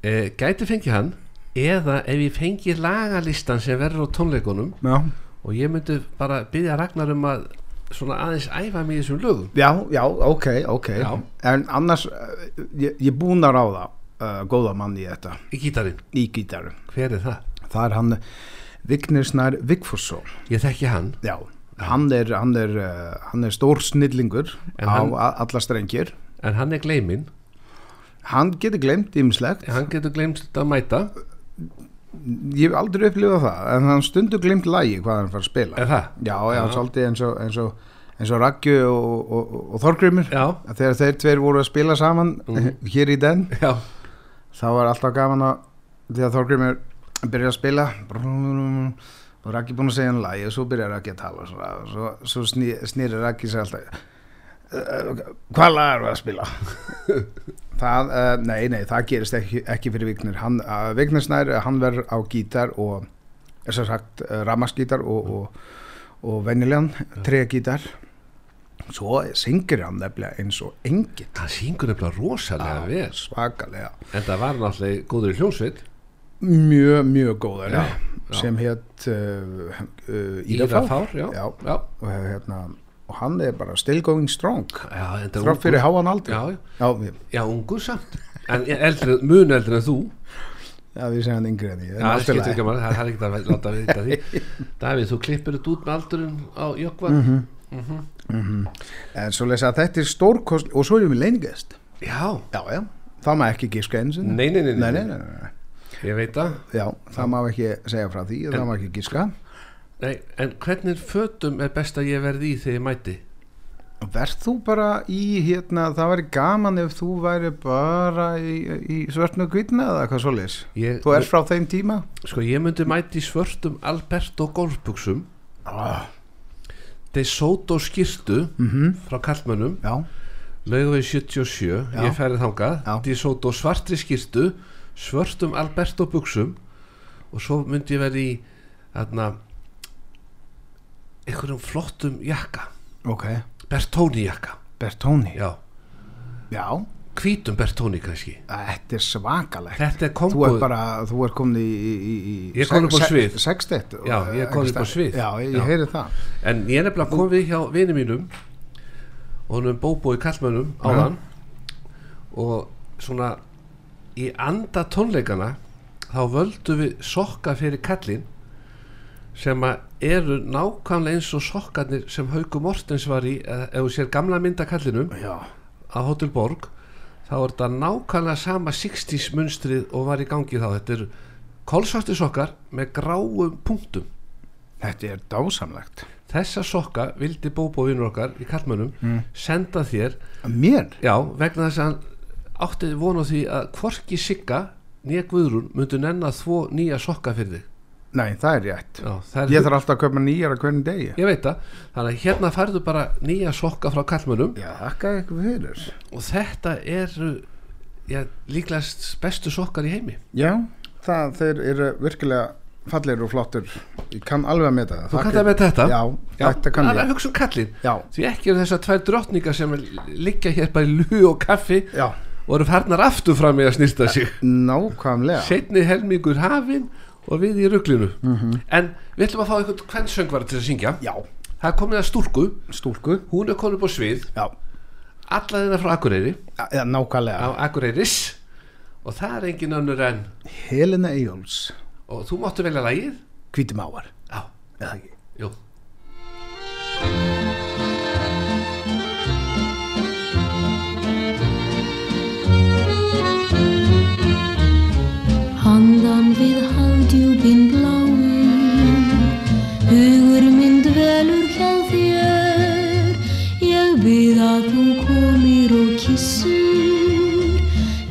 C: e, Gæti fengið hann eða ef ég fengi lagalistan sem verður á tónleikunum
D: já,
C: og ég myndi bara byggja Ragnar um að svona aðeins æfa mig í þessum lögum
D: já, já ok, ok
C: Já.
D: en annars, uh, ég, ég er búin að ráða uh, góða mann í þetta,
C: í gítarinn,
D: í gítarum
C: hver er það?
D: það er hann Vignir Snær Vigfússon
C: Ég þekki hann
D: já, hann er, hann er, eh, hann er stór snillingur
C: En
D: á
C: hann-
D: a- alla strengir
C: en hann er gleyminn,
D: hann getur glemt ímislegt
C: hann getur gleymst að mæta,
D: ég hef aldrei upplifað það en hann stundur glemt lagi hvað hann fara að spila
C: er það?
D: já, já, svolítið eins og, eins og eins og Raggi og, og, og- og Þorgrymur
C: Já, Mhm.
D: þegar þeir tveir voru að spila saman hér í den
C: já,
D: þá var alltaf gaman að þegar Þorgrymur byrjar að spila og Raggi búinn að segja hann lagi og svo byrjar Raggi að tala svona, og svo, svo sný, snýri Raggi sér alltaf "Eh, hvað lag er það að spila það, uh, nei, nei, það gerist ekki, ekki fyrir Vignir hann, uh, Vignir Snær, eh, hann verður á gítar og sem sagt uh, ramaskítar og, og, og venjulegan tregítar svo syngir hann nefnilega eins og engin
C: hann syngur nefnilega rosalega vel
D: svakalega
C: en það var náttúrulega góður í hljónsveit
D: mjög, mjög góðar eh,
C: Já, já.
D: sem hétt uh, uh,
C: Íra
D: Írafár
C: Fár, já,
D: Já.
C: já,
D: og, hérna, og hann er bara still going strong
C: já, en það
D: þrátt fyrir háan aldur
C: já, já,
D: já, við,
C: já, ungur samt en eldri, mun eldri en þú
D: já, við segja hann yngri en ég en
C: Já, það
D: allt í
C: skiptir
D: lagi.
C: ekki máli, það það er ekkert að láta við þetta því Davíð, þú klippir þetta út með aldurinn á Jökva
D: Mhm. en svo lesa að þetta er stórkost og svo erum við leiningest
C: Já,
D: já, já, það má ekki giska eins og-
C: nei, nei, nei,
D: Nei, nei, nei, nei, nei.
C: ég veit það
D: Já, það má ekki segja frá því og það má ekki gíska
C: nei, En hvernig fötum er best að ég verði í þegar ég mæti?
D: Verð þú bara í hérna, það væri gaman ef þú væri bara í, í svörtnu kvitna eða hvað svo leis
C: Ég,
D: Þú ert frá þeim tíma
C: Sko, ég myndi mæti í svörtum Alberto golfbuxum
D: ah. Mhm.
C: De Soto skýrtu frá Karlmönnum
D: Já,
C: Laugaveg 77,
D: Já.
C: ég færi þangað
D: Já.
C: De Soto svartri skýrtu svörtum Alberto buxum og svo myndi ég verði í þarna einhverjum flottum jakka
D: ok
C: Bertóni jakka
D: Bertóni
C: Já,
D: Já,
C: hvítum Bertóni kannski
D: þetta er svakalegt
C: Þetta er
D: Þú
C: komboð
D: ert bara, þú ert komin í, í, í
C: Ég er komin upp á svið.
D: Sextett
C: Já, ég er komin upp á svið.
D: Já, ég,
C: Já.
D: ég heyri það
C: En ég er nefnilega kom við hjá vini mínum og hann um Bóbó í Kallmönnum áðan og svona í anda tónleikana þá völdu við sokka fyrir kallin sem að eru nákvæmlega eins og sokkarnir sem Hauku Mortens var í eða ef þú sér gamla mynda kallinum
D: Já,
C: á Hotel Borg þá er þetta nákvæmlega sama 60s munstrið og var í gangi þá þetta eru kolsvartir sokkar með gráum punktum
D: þetta er dásamlegt
C: þessa sokka vildi Bóbó vinnur okkar í kallmönnum
D: Mm.
C: senda þér
D: Mér?
C: já, vegna þess að hann átti vona því að hvorki Sigga nýja Guðrún myndu nenn að þvó nýja sokka fyrir þig
D: Nei, það er rétt
C: já, það er,
D: Ég þarf alltaf að köpa nýjar að hvernig degi
C: ég veit það þannig að hérna færðu bara nýja sokka frá kallmönnum
D: Já, þakka ykkur fyrir
C: og þetta eru já, líklegast bestu sokkar í heimi
D: Já, það, þeir eru virkilega fallir og flottur Ég kann alveg að meta það
C: þú
D: Þakka-
C: kannt að með þetta
D: Já, þetta kann
C: það er að
D: ég
C: hugsa um kallin
D: Já,
C: því ekki eru þessar tvær drottningar sem liggja hér bara í lú og kaffi
D: já,
C: og eru farnar aftur fram í að snýsta sig
D: nákvæmlega
C: setni helmingur hafinn og við í ruglinu en við ætlum að fá einhvern kvennsöngvara til að syngja
D: Já,
C: það er komin að stúlku,
D: stúlku
C: hún er komin upp á svið
D: Já,
C: alla þeirna frá Akureyri
D: já, já, nákvæmlega
C: á Akureyris og það er engin önnur en
D: Helena Eyjóls,
C: og þú máttu velja lagið
D: hvítum áar
C: já,
D: eða ekki
C: jú
G: Handan við haldjúbin bláin Hugur minn dvelur hjá þér Ég við að þú komir og kissir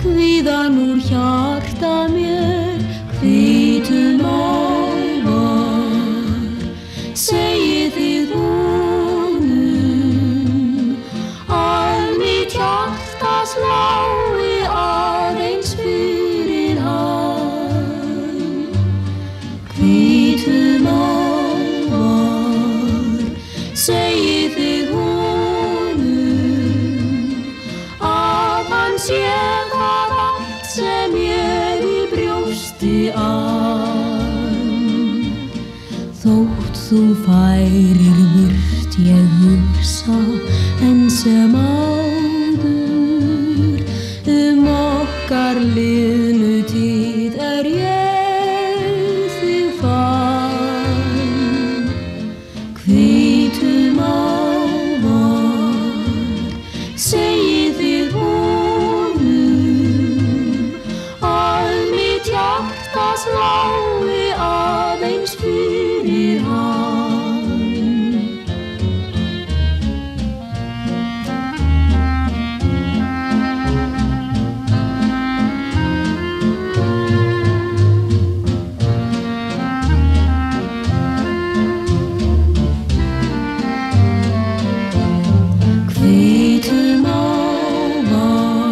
G: Hvíðan úr hjarta mér Hvítum álvar Segið þið honum Að mitt hjarta slái aðeins fyrir hann Hvítum ávar Segið þið honum Að hann sé það allt sem ég í brjósti ann Þótt þú færir vurt ég hugsa en sem áður um okkar liðnu tíð er ég þig fann hvítum ávar segið þið honum All mitt hjarta slái aðeins fyrir hann. Hvítum ávar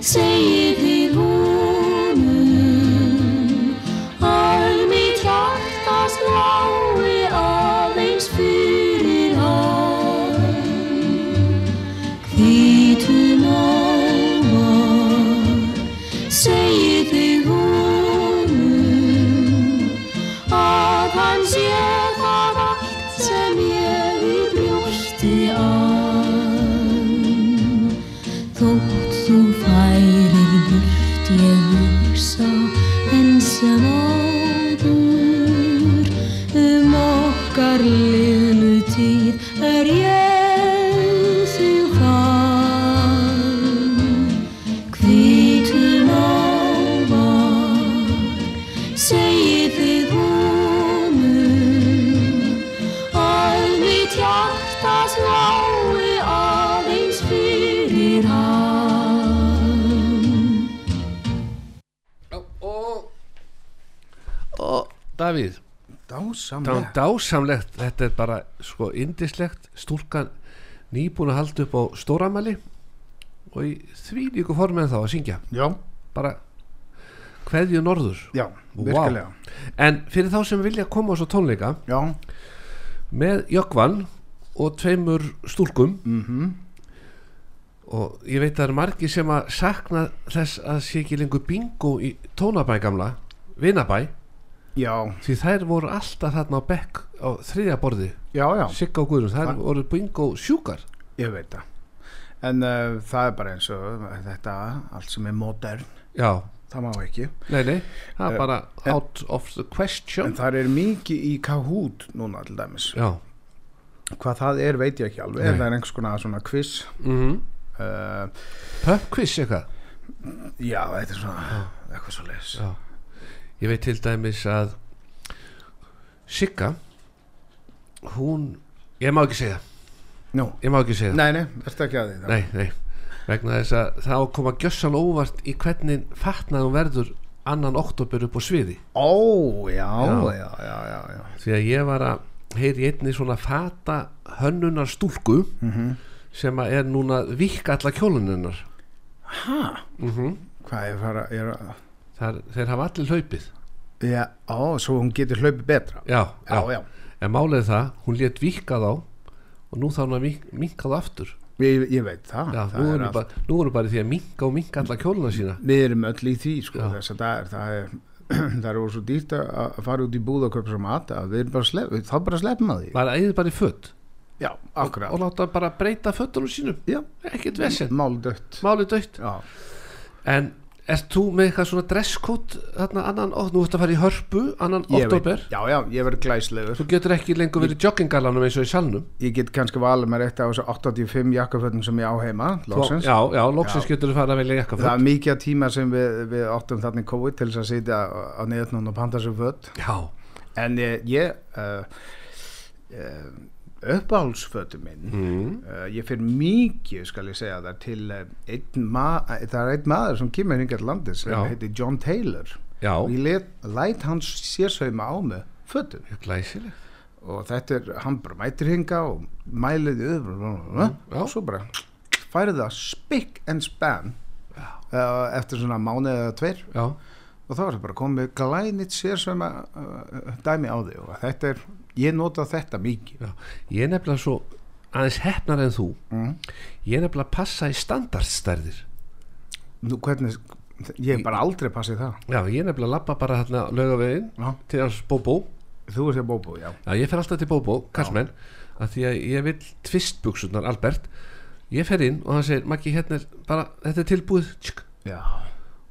G: segið þið honum All mitt hjarta slái aðeins fyrir hann Hvítum ávar segið þið honum að hann sé það allt sem ég í brjósti ann. Þótt þú færir burt ég hugsa en sem áður um okkar liðnu tíð er ég þig fann. Hvítum ávar segið þið honum að mitt hjarta slái aðeins fyrir hann.
C: og, og, og Davíð það er
D: Dásamlega
C: dásamlegt, þetta er bara sko indislegt, stúlkan nýbúin að halda upp á stóramæli og í því líku formið þá að syngja,
D: Já,
C: bara hverju norður
D: já,
C: Vá.
D: virkilega
C: en fyrir þá sem vilja koma á svo tónleika
D: Já,
C: með Jökvan og tveimur stúlkum -hmm.
D: Mhm.
C: og ég veit að það eru margir sem að sakna þess að sé ekki lengur bingo í tónabæ gamla vinabæ,
D: já,
C: því þær voru alltaf þarna á bekk á þriðja borði
D: já, já
C: Sigga og Guðrún, það voru bingo sjúkar
D: Ég veit það En uh, það er bara eins og þetta allt sem er modern,
C: Já,
D: það má ekki
C: nei, nei, það er
D: Eh,
C: bara
D: en-
C: out of the
D: En
C: question
D: það er mikið í Kahoot núna til dæmis
C: Já,
D: Hvað það er veit ég ekki alveg
C: Nei.
D: En það er einhvers konar svona quiz
C: mm -hmm.
D: uh,
C: pub quiz eitthvað
D: Já, þetta er svona eitthvað svo leis
C: Já. Ég veit til dæmis að Sigga hún, ég má ekki segja
D: Nú,
C: ég má ekki segja,
D: nei, nei, verður ekki að því það.
C: nei, nei. vegna þess að þá koma gjössan óvart í hvernig fatnaðum verður annan oktober upp á sviði
D: Ó, já,
C: Já.
D: já, já, já, já,
C: því að ég var að heyri í einni svona fata hönnunar stúlku
D: Mhm.
C: sem að er núna vik alla kjóluninnar
D: Hvað ég fara, ég er að
C: Þar, þeir hafa allir hlaupið
D: Já, á, svo hún getur hlaupið betra
C: já,
D: Já, já,
C: en málið er það, hún létt vika þá og nú þá hann að minka þá aftur
D: Ég, ég veit það,
C: já,
D: það
C: nú,
D: er
C: er
D: allt-
C: bara, nú erum bara í því að minka og minka alla kjóluna sína
D: Við erum öll í því sko,
C: Já.
D: þess að það er, það er það er svo dýrt að- að fara út í búð og köpa svo mat að við erum bara að slepp, þá bara sleppum að því
C: bara eigið bara í föt
D: já,
C: og
D: akkurat,
C: láta bara breyta fötunum sínum
D: já,
C: ekkert vesend,
D: máldött
C: málið dögt
D: já,
C: en ert þú með eitthvað svona dresskót þarna annan, ó, nú ert að fara í hörpu annan
D: ég
C: oktober,
D: já, já, ég verð glæslegur
C: þú getur ekki lengur verið í jogginggalanum eins og í salnum
D: ég get kannski valið mér eitt af þessu 85 jakkafötum sem ég á heima,
C: Þú-
D: loksins
C: já, já, loksins getur þú fara að velja jakka
D: það er mikið af tíma sem við, við áttum þarna í COVID til þess að sitja á neðutnum og panta sér fött
C: já,
D: en ég, ég uh, uh, uppáhaldsfötum minn
C: Mm.
D: uh, ég fyrir mikið skal ég segja það til uh, einn ma- eh, það er einn maður sem kemur hingað til landið sem
C: Já.
D: heitir John Taylor
C: já,
D: og ég let, læt hans sérsauma á með fötum
C: glæsileg
D: og þetta er, hann bara mætir hinga og mæliði öður
C: já.
D: og svo bara færið það spikk and span uh, eftir svona mánuðið eða tveir
C: já,
D: og þá er það bara komið glænit sér sem að uh, dæmi á þig og þetta er, ég nota þetta mikið
C: já, ég er nefnilega svo aðeins hefnar en þú
D: Mm.
C: ég er nefnilega að passa í standardstærðir
D: nú hvernig, ég hef bara aldrei passið það
C: já, ég er nefnilega að labba bara hérna laugavegin
D: Já.
C: til hans bóbó
D: þú ert ég bóbú, já
C: Já, ég fer alltaf til Bóbó, kallmenn að því að ég vil tvistbuksunar Albert, ég fer inn og hann segir Maggi, hérna er bara, þetta er tilbúið tsk,
D: já,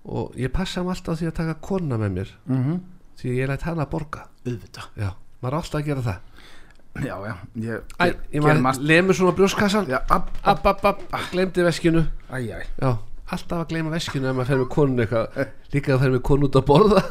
C: og ég passa hann alltaf á því að taka kona með mér
D: mm -hmm.
C: því að ég læt hana að borga
D: auðvitað
C: Já, maður er alltaf að gera það
D: já, já, ég,
C: Æ,
D: ég,
C: ég
D: gerum
C: maður
D: allt
C: lemur svona brjóskassan
D: já, ab,
C: App, app, app, glemdi veskinu
D: æ, æ,
C: Já, alltaf að gleyma veskinu ef maður fer með konun eitthvað líka að fer með konun út að borða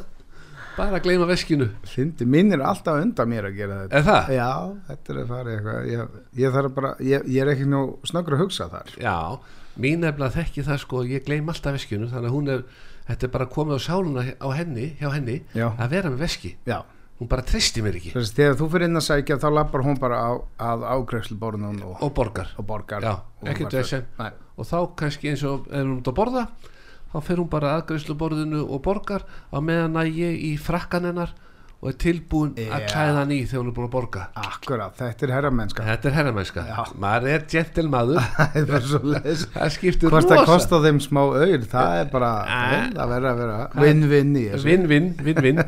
C: bara að gleyma veskinu
D: þindi mín er alltaf undan mér að gera þetta
C: Er það?
D: já, þetta er að fara í eitthvað ég, ég þarf bara, ég, ég er ekki nú snöggur að hugsa þar
C: Já, mín nefnilega þekki það sko ég gleym alltaf veskinu þannig að hún er þetta er bara komið á sáluna á henni hjá henni
D: Já.
C: að vera með veski
D: já,
C: hún bara treysti mér ekki
D: þess að þegar þú fyrir inn að sækja þá lappar hún bara á, að ágreifsluborðunum og,
C: og borgar
D: og borgar
C: Já,
D: Og
C: ekkert
D: bara-
C: vesen.
D: Nei.
C: og þá kannski eins og ef hún út að borða þá fer hún bara aðgreifsluborðinu og borgar á meðan að ég í frakkan hennar og er tilbúin að
D: Já.
C: klæða hann í þegar hún er búin að borga
D: Akkurat, þetta er herramennska
C: Þetta er herramennska,
D: Já.
C: maður er gentilmaður
D: Það er svo leis
C: það skiptir
D: Hvort að
C: rosa.
D: kosta þeim smá auð Það er bara,
C: Ah.
D: það verður að vera Vinn-vinn í þessu
C: vinn, vinn, vinn, vinn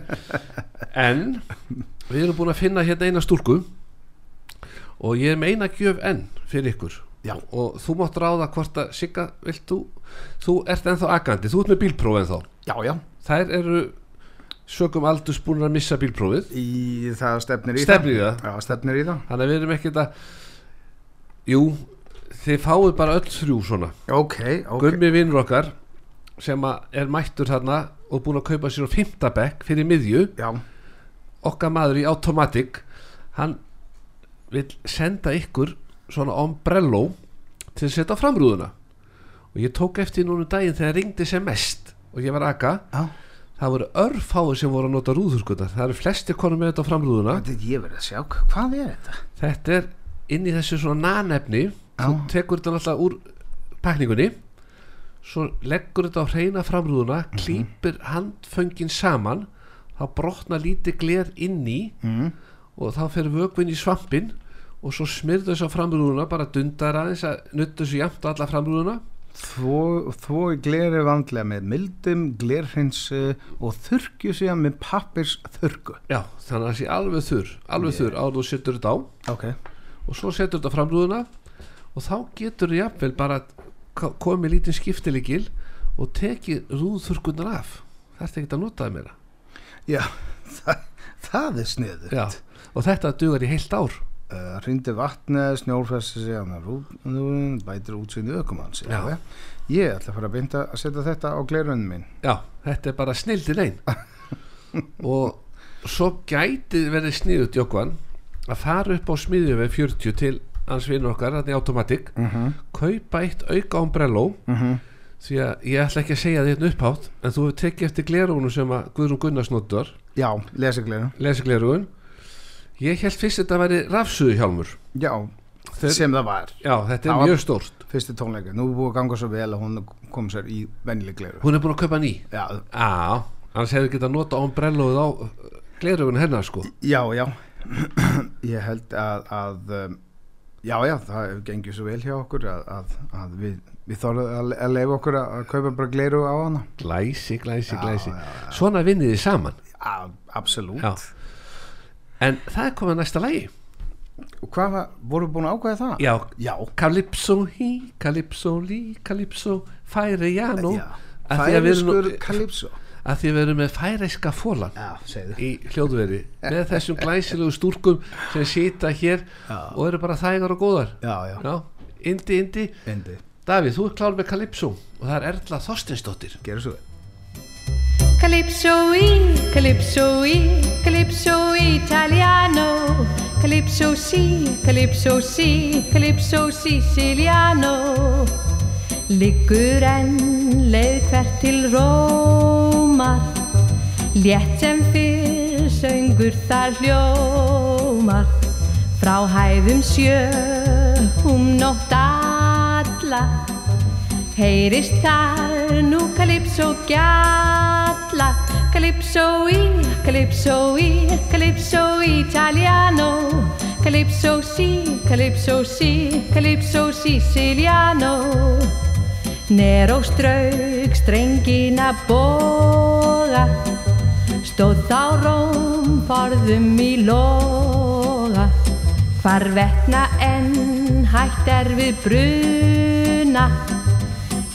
C: en við erum búin að finna hérna eina stúlku og ég er með eina gjöf enn fyrir ykkur
D: Já.
C: og þú mátt ráða hvort að Sigga, vilt þú þú ert ennþá agandi, þú ert með bílpróf ennþá
D: Já, já,
C: þær eru sögum aldurs búin að missa bílprófið
D: í, það stefnir í
C: Stefnir í það?
D: það Já, stefnir í það
C: þannig að við erum ekkert að jú, þið fáið bara öll þrjú svona
D: Ok, ok
C: Gummi vinnur okkar sem að er mættur þarna og búin að kaupa sér á fimmtabekk fyrir miðju
D: Já,
C: okkar maður í Automatic hann vil senda ykkur svona ombrello til að setja á framrúðuna og ég tók eftir núna um daginn þegar ringdi sem mest og ég var að aga
D: já
C: það voru örfáir sem voru að nota rúðurskutna það eru flesti konum með þetta á framrúðuna
D: Þetta er ég verið að sjá, hvað er þetta?
C: þetta er inn í þessu svona nanefni þú
D: Já.
C: tekur þetta alltaf úr pakningunni svo leggur þetta á hreina framrúðuna klýpir handföngin saman þá brotna lítið gler inn í
D: Mm.
C: og þá fer vökvinn í svampin og svo smyrðu þessu á framrúðuna bara dundar aðeins að nutta þessu jæmt á alla framrúðuna
D: Þvó, þvó gleri vandlega með mildum, glerhinsu og þurrkju síðan með pappirs þurrku
C: já, þannig að það sé alveg þurr alveg þurr áður þú setur þetta á
D: Ok,
C: og svo setur þetta á framrúðuna og þá getur þú jafnvel bara k- komið lítinn skiptilegil og tekið rúðþurkunar af þetta er ekkert að nota það meira
D: já, það, það er sniður
C: já. og þetta dugar í heilt ár
D: uh, hrindi vatni, snjórfesti sig hann rúðnúin, bætir útsýndu ökumann
C: Já.
D: ég ætla að fara að bynda að setja þetta á glerunum minn
C: já, þetta er bara snildin einn og svo gæti verið sniðut Jókvan að fara upp á smiðju við 40 til hans vinnur okkar, þannig automatic kaupa eitt auka ombrello Mhm. því að ég ætla ekki að segja þetta upphátt en þú hefur tekið eftir glerunum sem að Guðrún Gunnars notar
D: já, lesigleru
C: lesiglerugun ég held fyrst þetta væri rafsuðuhjálmur
D: já,
C: Þeir,
D: sem það var
C: já, þetta er
D: Það var-
C: mjög stórt
D: fyrsti tónleika, nú er búið að ganga svo vel að hún kom sér í vennileg gleru
C: hún er búin að kaupa ný
D: já,
C: já, annars hefur getað nota ombrelloð á glerugun hennar sko
D: já, já ég held að, að um, Já, já, það gengur svo vel hjá okkur að, að, að við, við þorðum að, að leifa okkur að, að kaupa bara gleiru á hana.
C: Glæsi, glæsi,
D: Já,
C: glæsi
D: já, já.
C: Svona vinnið þið saman
D: A, absolutt.
C: Já. En það er komið að næsta lagi
D: Og hvað var, voru búin að ákvæða það?
C: Já,
D: Já.
C: Calypso hí, Calypso lí, Calypso Færejano
D: Já.
C: að því að við erum
D: Færiskur
C: nú-
D: Kalypso.
C: að því að við erum með færeiska fólan
D: Já, segðu.
C: í hljóðveri með þessum glæsilegu stúrkum sem sita hér
D: Já.
C: og eru bara þægar og góðar
D: Já, já.
C: Já, Indi, Indi
D: Endi,
C: Davíð, þú er klár með Calypso og það er Erla Þorstinsdóttir
D: gerðu svo vel.
H: Calypso E, Calypso E, Calypso Italiano, Calypso C, Calypso C, Calypso Siciliano. Liggur enn leið hvert til Rómar, létt sem fyrr söngur þar hljómar. Frá hæðum sjö um nótt alla, Heyrist þar nú Calypso gjalla Calypso í, Calypso í, Calypso italiano Calypso sí, Calypso sí, Calypso siciliano Nero strauk strengina boga Stóð þá róm forðum í loga Hvarvetna enn hætt er við bruna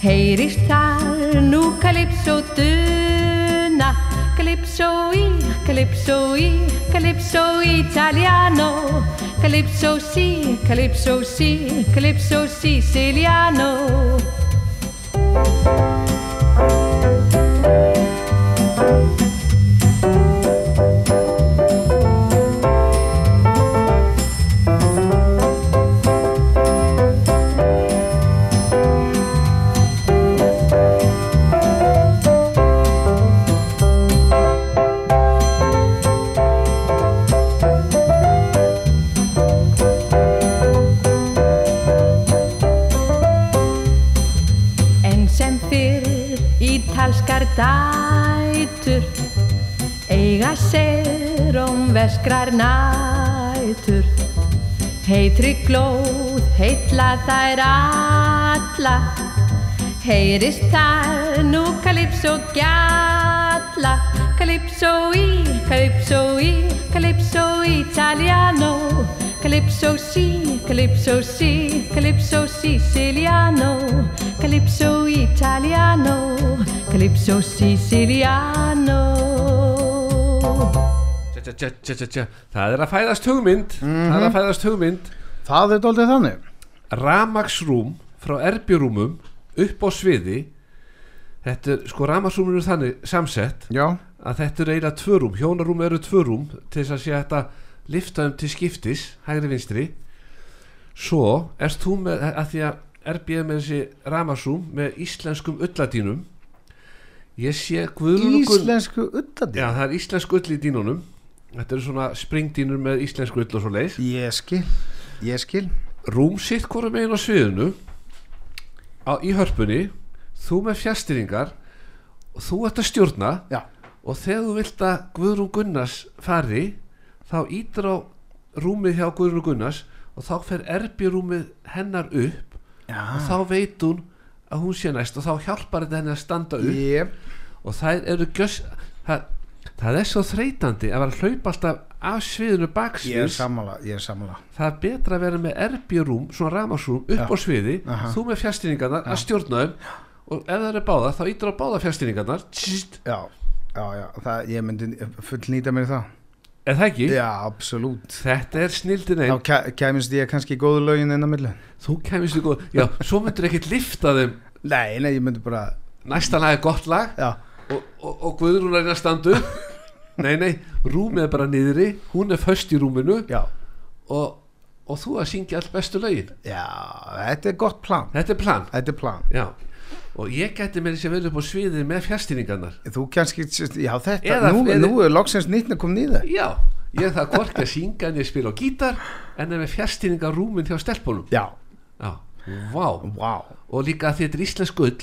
H: Heyrist þar nú Calypso duna Calypso í, Calypso í, Calypso italiano Calypso sí, Calypso sí, Calypso siciliano En sem fyrir ítalskar dætur Eiga sér um veskrar nætur Heitri glóð, heitla þær alla Heyrist þar nú Calypso gjalla Calypso í, Calypso í, Calypso italiano Calypso sí, Calypso sí, Calypso siciliano Calypso italiano, Calypso siciliano
C: Tja, tja, tja, tja, tja, tja. Það er að fæðast hugmynd Það er að fæðast hugmynd
D: Það er doldið þannig.
C: Ramagsrúm frá erbjörúmum upp á sviði Þetta er, sko, ramagsrúmur er þannig samsett
D: Já,
C: að þetta eru eiginlega tvö rúm, hjónarúm eru tvö rúm til þess að sé hægt að lifta um til skiptis, hægri vinstri svo erst þú með að því að erbjöð með þessi ramasrúm með íslenskum ulladínum ég sé Guðrún og Gunn-
D: íslensku ullandi.
C: já það er íslensk ull í dínunum þetta eru svona springdínur með íslensku ull og svo leið
D: Ég skil, ég skil.
C: rúm sitt hvora megin á sviðinu á, í hörpunni þú með fjastýringar og þú ert að stjórna
D: Já,
C: og þegar þú vilt að Guðrún Gunnars fari þá ítir á rúmið hjá Guðrún Gunnars og þá fer erbjörúmið hennar upp og þá veit hún að hún sé næst og þá hjálpar þetta henni að standa upp
D: ég,
C: og það eru gjöss það, það er svo þreytandi að vera að hlaupa alltaf af sviðinu
D: ég er
C: baksviðs
D: sammála, ég er sammála.
C: það er betra að vera með erbjörúm svona ramarsrúm upp á sviði
D: Aha.
C: þú með fjastýringarnar að stjórna þeim og ef það eru báða þá ítir á báða fjastýringarnar Tssst,
D: Já, já, já, það, ég myndi fullnýta mér það.
C: er það ekki?
D: Já, absolutt.
C: Þetta er snildin einn
D: Þá kæ- kæmist ég kannski í góðu lögin inn á milli.
C: Þú kemist í góð Já, svo myndur ekkert lifta þeim
D: Nei, nei, ég myndi bara,
C: Næsta lag er gott lag
D: já,
C: Og, og, og Guðrún er hérna að standu Nei, nei, rúmið er bara niðri Hún er föst í rúminu
D: já,
C: og, og þú að syngja all bestu lögin
D: já, þetta er gott plan.
C: Þetta er plan
D: Þetta er plan.
C: Já Og ég gæti með þessi vel upp á sviðið með fjastýringarnar
D: Þú kannski, já, þetta,
C: Eða-
D: nú,
C: eða-
D: nú er loksins nýttna komið nýða.
C: Já, ég það hvorki að syngja en ég spila á gítar En er með fjastýringar rúmin hjá stelpunum
D: Já,
C: Já, vá
D: vá,
C: og líka að þetta er íslensk gull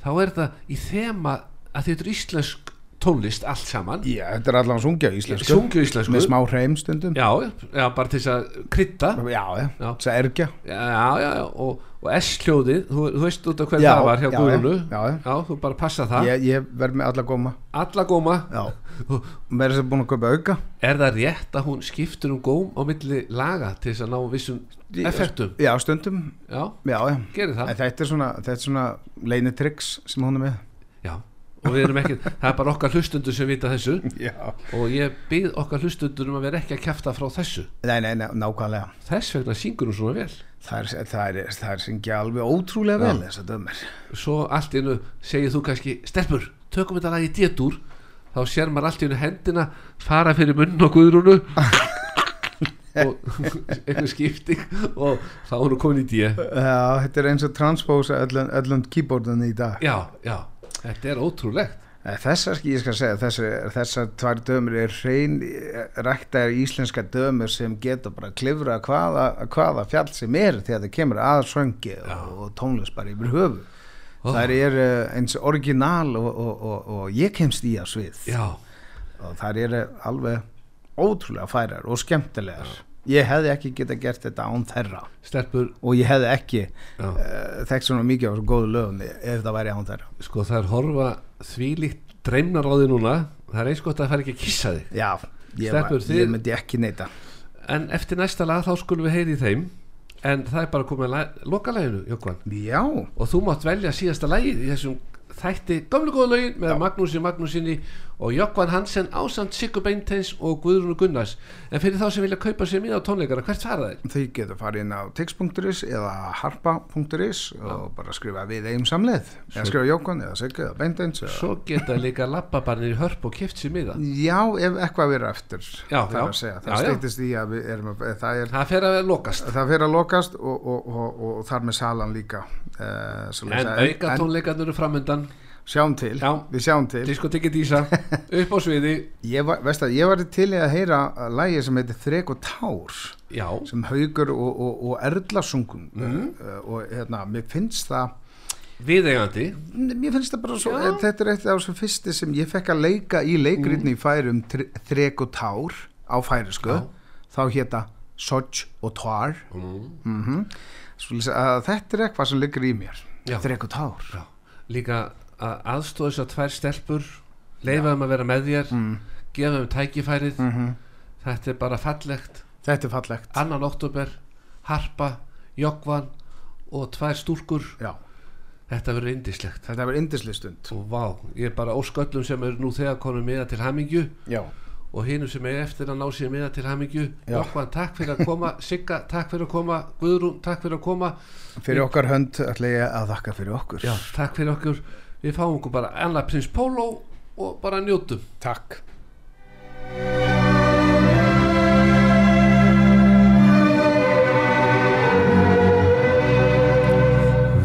C: þá er það í þema að þetta er íslensk tónlist allt saman
D: Já, þetta er allan sungja í íslensku
C: Sungja í íslensku.
D: Með smá hreim stundum
C: já, já, bara til þess að krydda
D: já,
C: Já.
D: þess að ergja
C: já, já, já, og, og S-hljóðið þú, þú veist út af hvernig
D: Já,
C: það var hjá
D: já, já,
C: Guðrúnu
D: já, já.
C: þú bara passa það
D: Ég, ég verð með alla góma
C: alla góma,
D: Já Mér er þess að búin að kaupa auka
C: er það rétt að hún skiptur um góm á milli laga til þess að ná vissum effektum
D: Já, stundum
C: já,
D: Já, já
C: gerir það
D: En þetta er svona, þetta er svona leinitryggs sem hún er með
C: já, og við erum ekki, það er bara okkar hlustundur sem vita þessu
D: Já
C: og ég bygg okkar hlustundur um að vera ekki að kæfta frá þessu
D: Nei, nei, nei nákvæmlega
C: þess vegna syngur hún svona vel
D: Það er, það er, það er syngja alveg ótrúlega vel þess að dömur
C: svo allt í hennu segir þú kannski stelpur, tökum þetta lag í détur þá sér maður allt í hennu hendina fara fyrir munn og guðrúnu og einhver skipting og þá er hún komin í dí
D: Já, þetta er eins og transpósa öllum, öllum keyboardunni í dag
C: já, já, þetta er ótrúlegt
D: Nei, Þessar, ég skal segja, þessar, þessar tvær dömur er hrein eh, ræktaðar íslenska dömur sem geta bara klifra hvaða, hvaða fjall sem er þegar það kemur að söngi og, og tónlist bara yfir höfu.
C: Ó.
D: Þær er eins orginal og, og, og, og ég kemst í að svið
C: já,
D: og þær eru alveg ótrúlega færar og skemmtilegar. Ég hefði ekki geta gert þetta án þeirra
C: stelpur
D: og ég hefði ekki
C: Já.
D: uh, þekkt svona mikið á svo góðu lögum ef það væri án þeirra.
C: sko það er horfa þvílíkt dreimnar á því núna það er eins gott að það fær ekki að kissa þig
D: Já, ég,
C: Stelpur,
D: var, ég
C: þið-
D: myndi ekki neyta.
C: en eftir næsta lag þá skulum við heyri í þeim en það er bara komið að la- lokalæginu Jókvan
D: Já,
C: og þú mátt velja síðasta lagið í þessum þætti gamlu góða lögin með Magnúsi Magnúsinni og Jokkvan Hansen ásand Sigur Beinteins og Guðrúnu Gunnars en fyrir þá sem vilja kaupa sér mín á tónleikara hvert fara þeir?
D: Þau getur farið inn á tix.is eða harpa.is og bara skrifa við eigum samleið eða skrifa Jókon eða Siggi eða Bendins eða...
C: Svo geta líka labbabarnir í hörp og kift sér miða
D: Já, ef eitthvað við erum eftir
C: Já,
D: það, er
C: já.
D: að segja, það
C: Já, já.
D: steytist í að við erum að, það, er,
C: Það fer að vera lokast
D: það fyrir að lokast og, og, og, og, þar með salan líka uh,
C: en auka tónleikarnir eru framundan
D: sjáum til,
C: Já.
D: við sjáum til
C: diskotekki dísa upp á sviði
D: ég var, veist að ég var til í að heyra lægi sem heitir Þrek og Tár
C: Já,
D: sem haugur og, og, og erlasungum
C: Mhm.
D: mm. og hérna, mér finnst það
C: viðeigandi
D: Mér finnst það bara svo, eh, þetta er eitt af þessum fyrsti sem ég fekk að leika í leikritni í færum Tre- Þrek og Tár á færisku, þá hétta Soj og Tár mm. Mm Þetta er eitthvað sem liggur í mér,
C: Já.
D: Þrek og Tár
C: Já. Líka að aðstóða þess að tvær stelpur leifa um að vera með þér gefa um tækifærið þetta er bara fallegt
D: Þetta er fallegt
C: annan oktober harpa, joggvan og tvær stúlkur
D: Já.
C: þetta verður indislegt
D: Þetta er indislistund
C: og vá, ég er bara ósköllum sem eru nú þegar konum miða til hamingju
D: Já.
C: og hinum sem er eftir að ná sér miða til hamingju
D: Já.
C: joggvan, takk fyrir að koma Sigga, takk fyrir að koma Guðrún, takk fyrir að koma
D: Fyrir okkar hönd ætla ég að þakka fyrir okkur
C: Já, takk fyrir okkur við fáum okkur bara annað prins Póló og bara njótum
D: Takk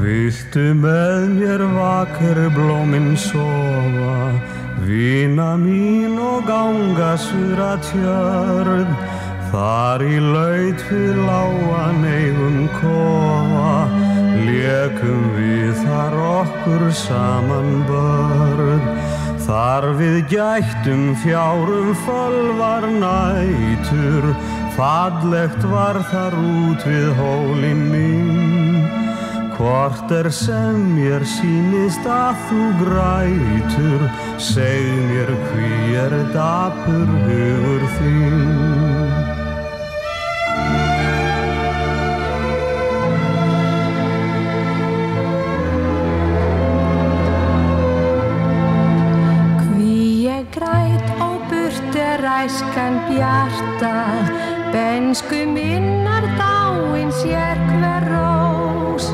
E: Viltu með mér vakir blómin sofa Vina mín og ganga suðra tjörn Þar í laut við lágan eigum kofa Lékum við þar okkur saman börn Þar við gættum fjárum fölvar nætur Fallegt var þar út við hólinn mín Hvort er sem mér sýnist að þú grætur, seg mér hví er dapur hugur þín.
H: Hví ég græt og burt er æskan bjarta, bensku minnar dáin sér hver rós.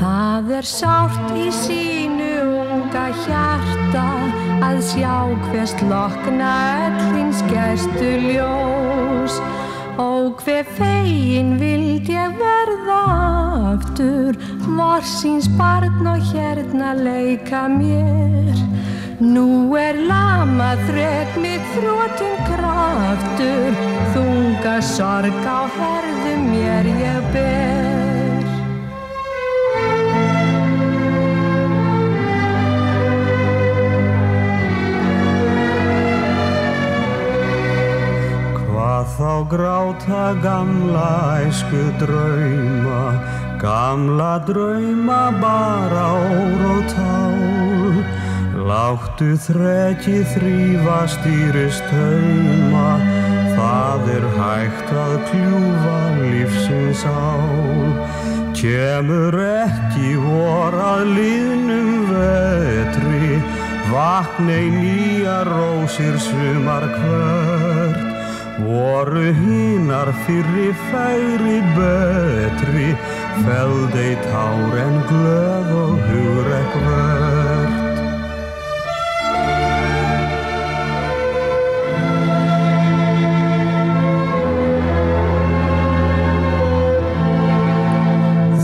H: Það er sárt í sínu unga hjarta að sjá hver slokna öllins gæstu ljós. Ó hve fegin vild ég verða aftur, morsins barn og hérna leika mér. Nú er lama þrek mitt þrótum kraftur, þunga sorg á herðum mér ég ber.
I: láta gamla æsku drauma Gamla drauma bara ór og tál Láttu þreki þrýfa stýrist hauma Það er hægt að kljúfa lífsins ál Kemur ekki vor að liðnum vetri Vaknei nýjar rósir sumar hvert Voru hinar fyrri færi betri Feldei tár en glöð og hugur ekkvert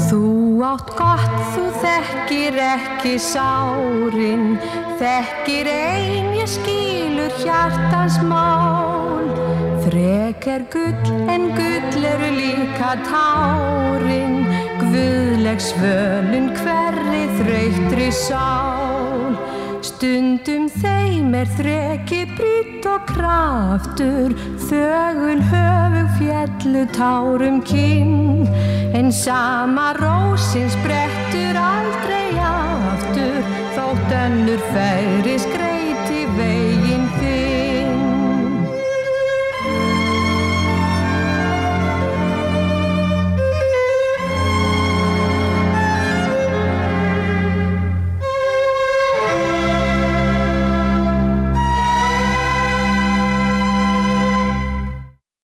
H: Þú átt gott, þú þekkir ekki sárin, þekkir ein ég skilur hjartans mál. Þrek er gull en gull eru líka tárin, guðleg svölun hverri þreytri sál. Stundum þeim er þreki brýtt og kraftur, þögul höfug fjallu tárum kinn. En sama rósin sprettur aldrei aftur, þótt önnur færist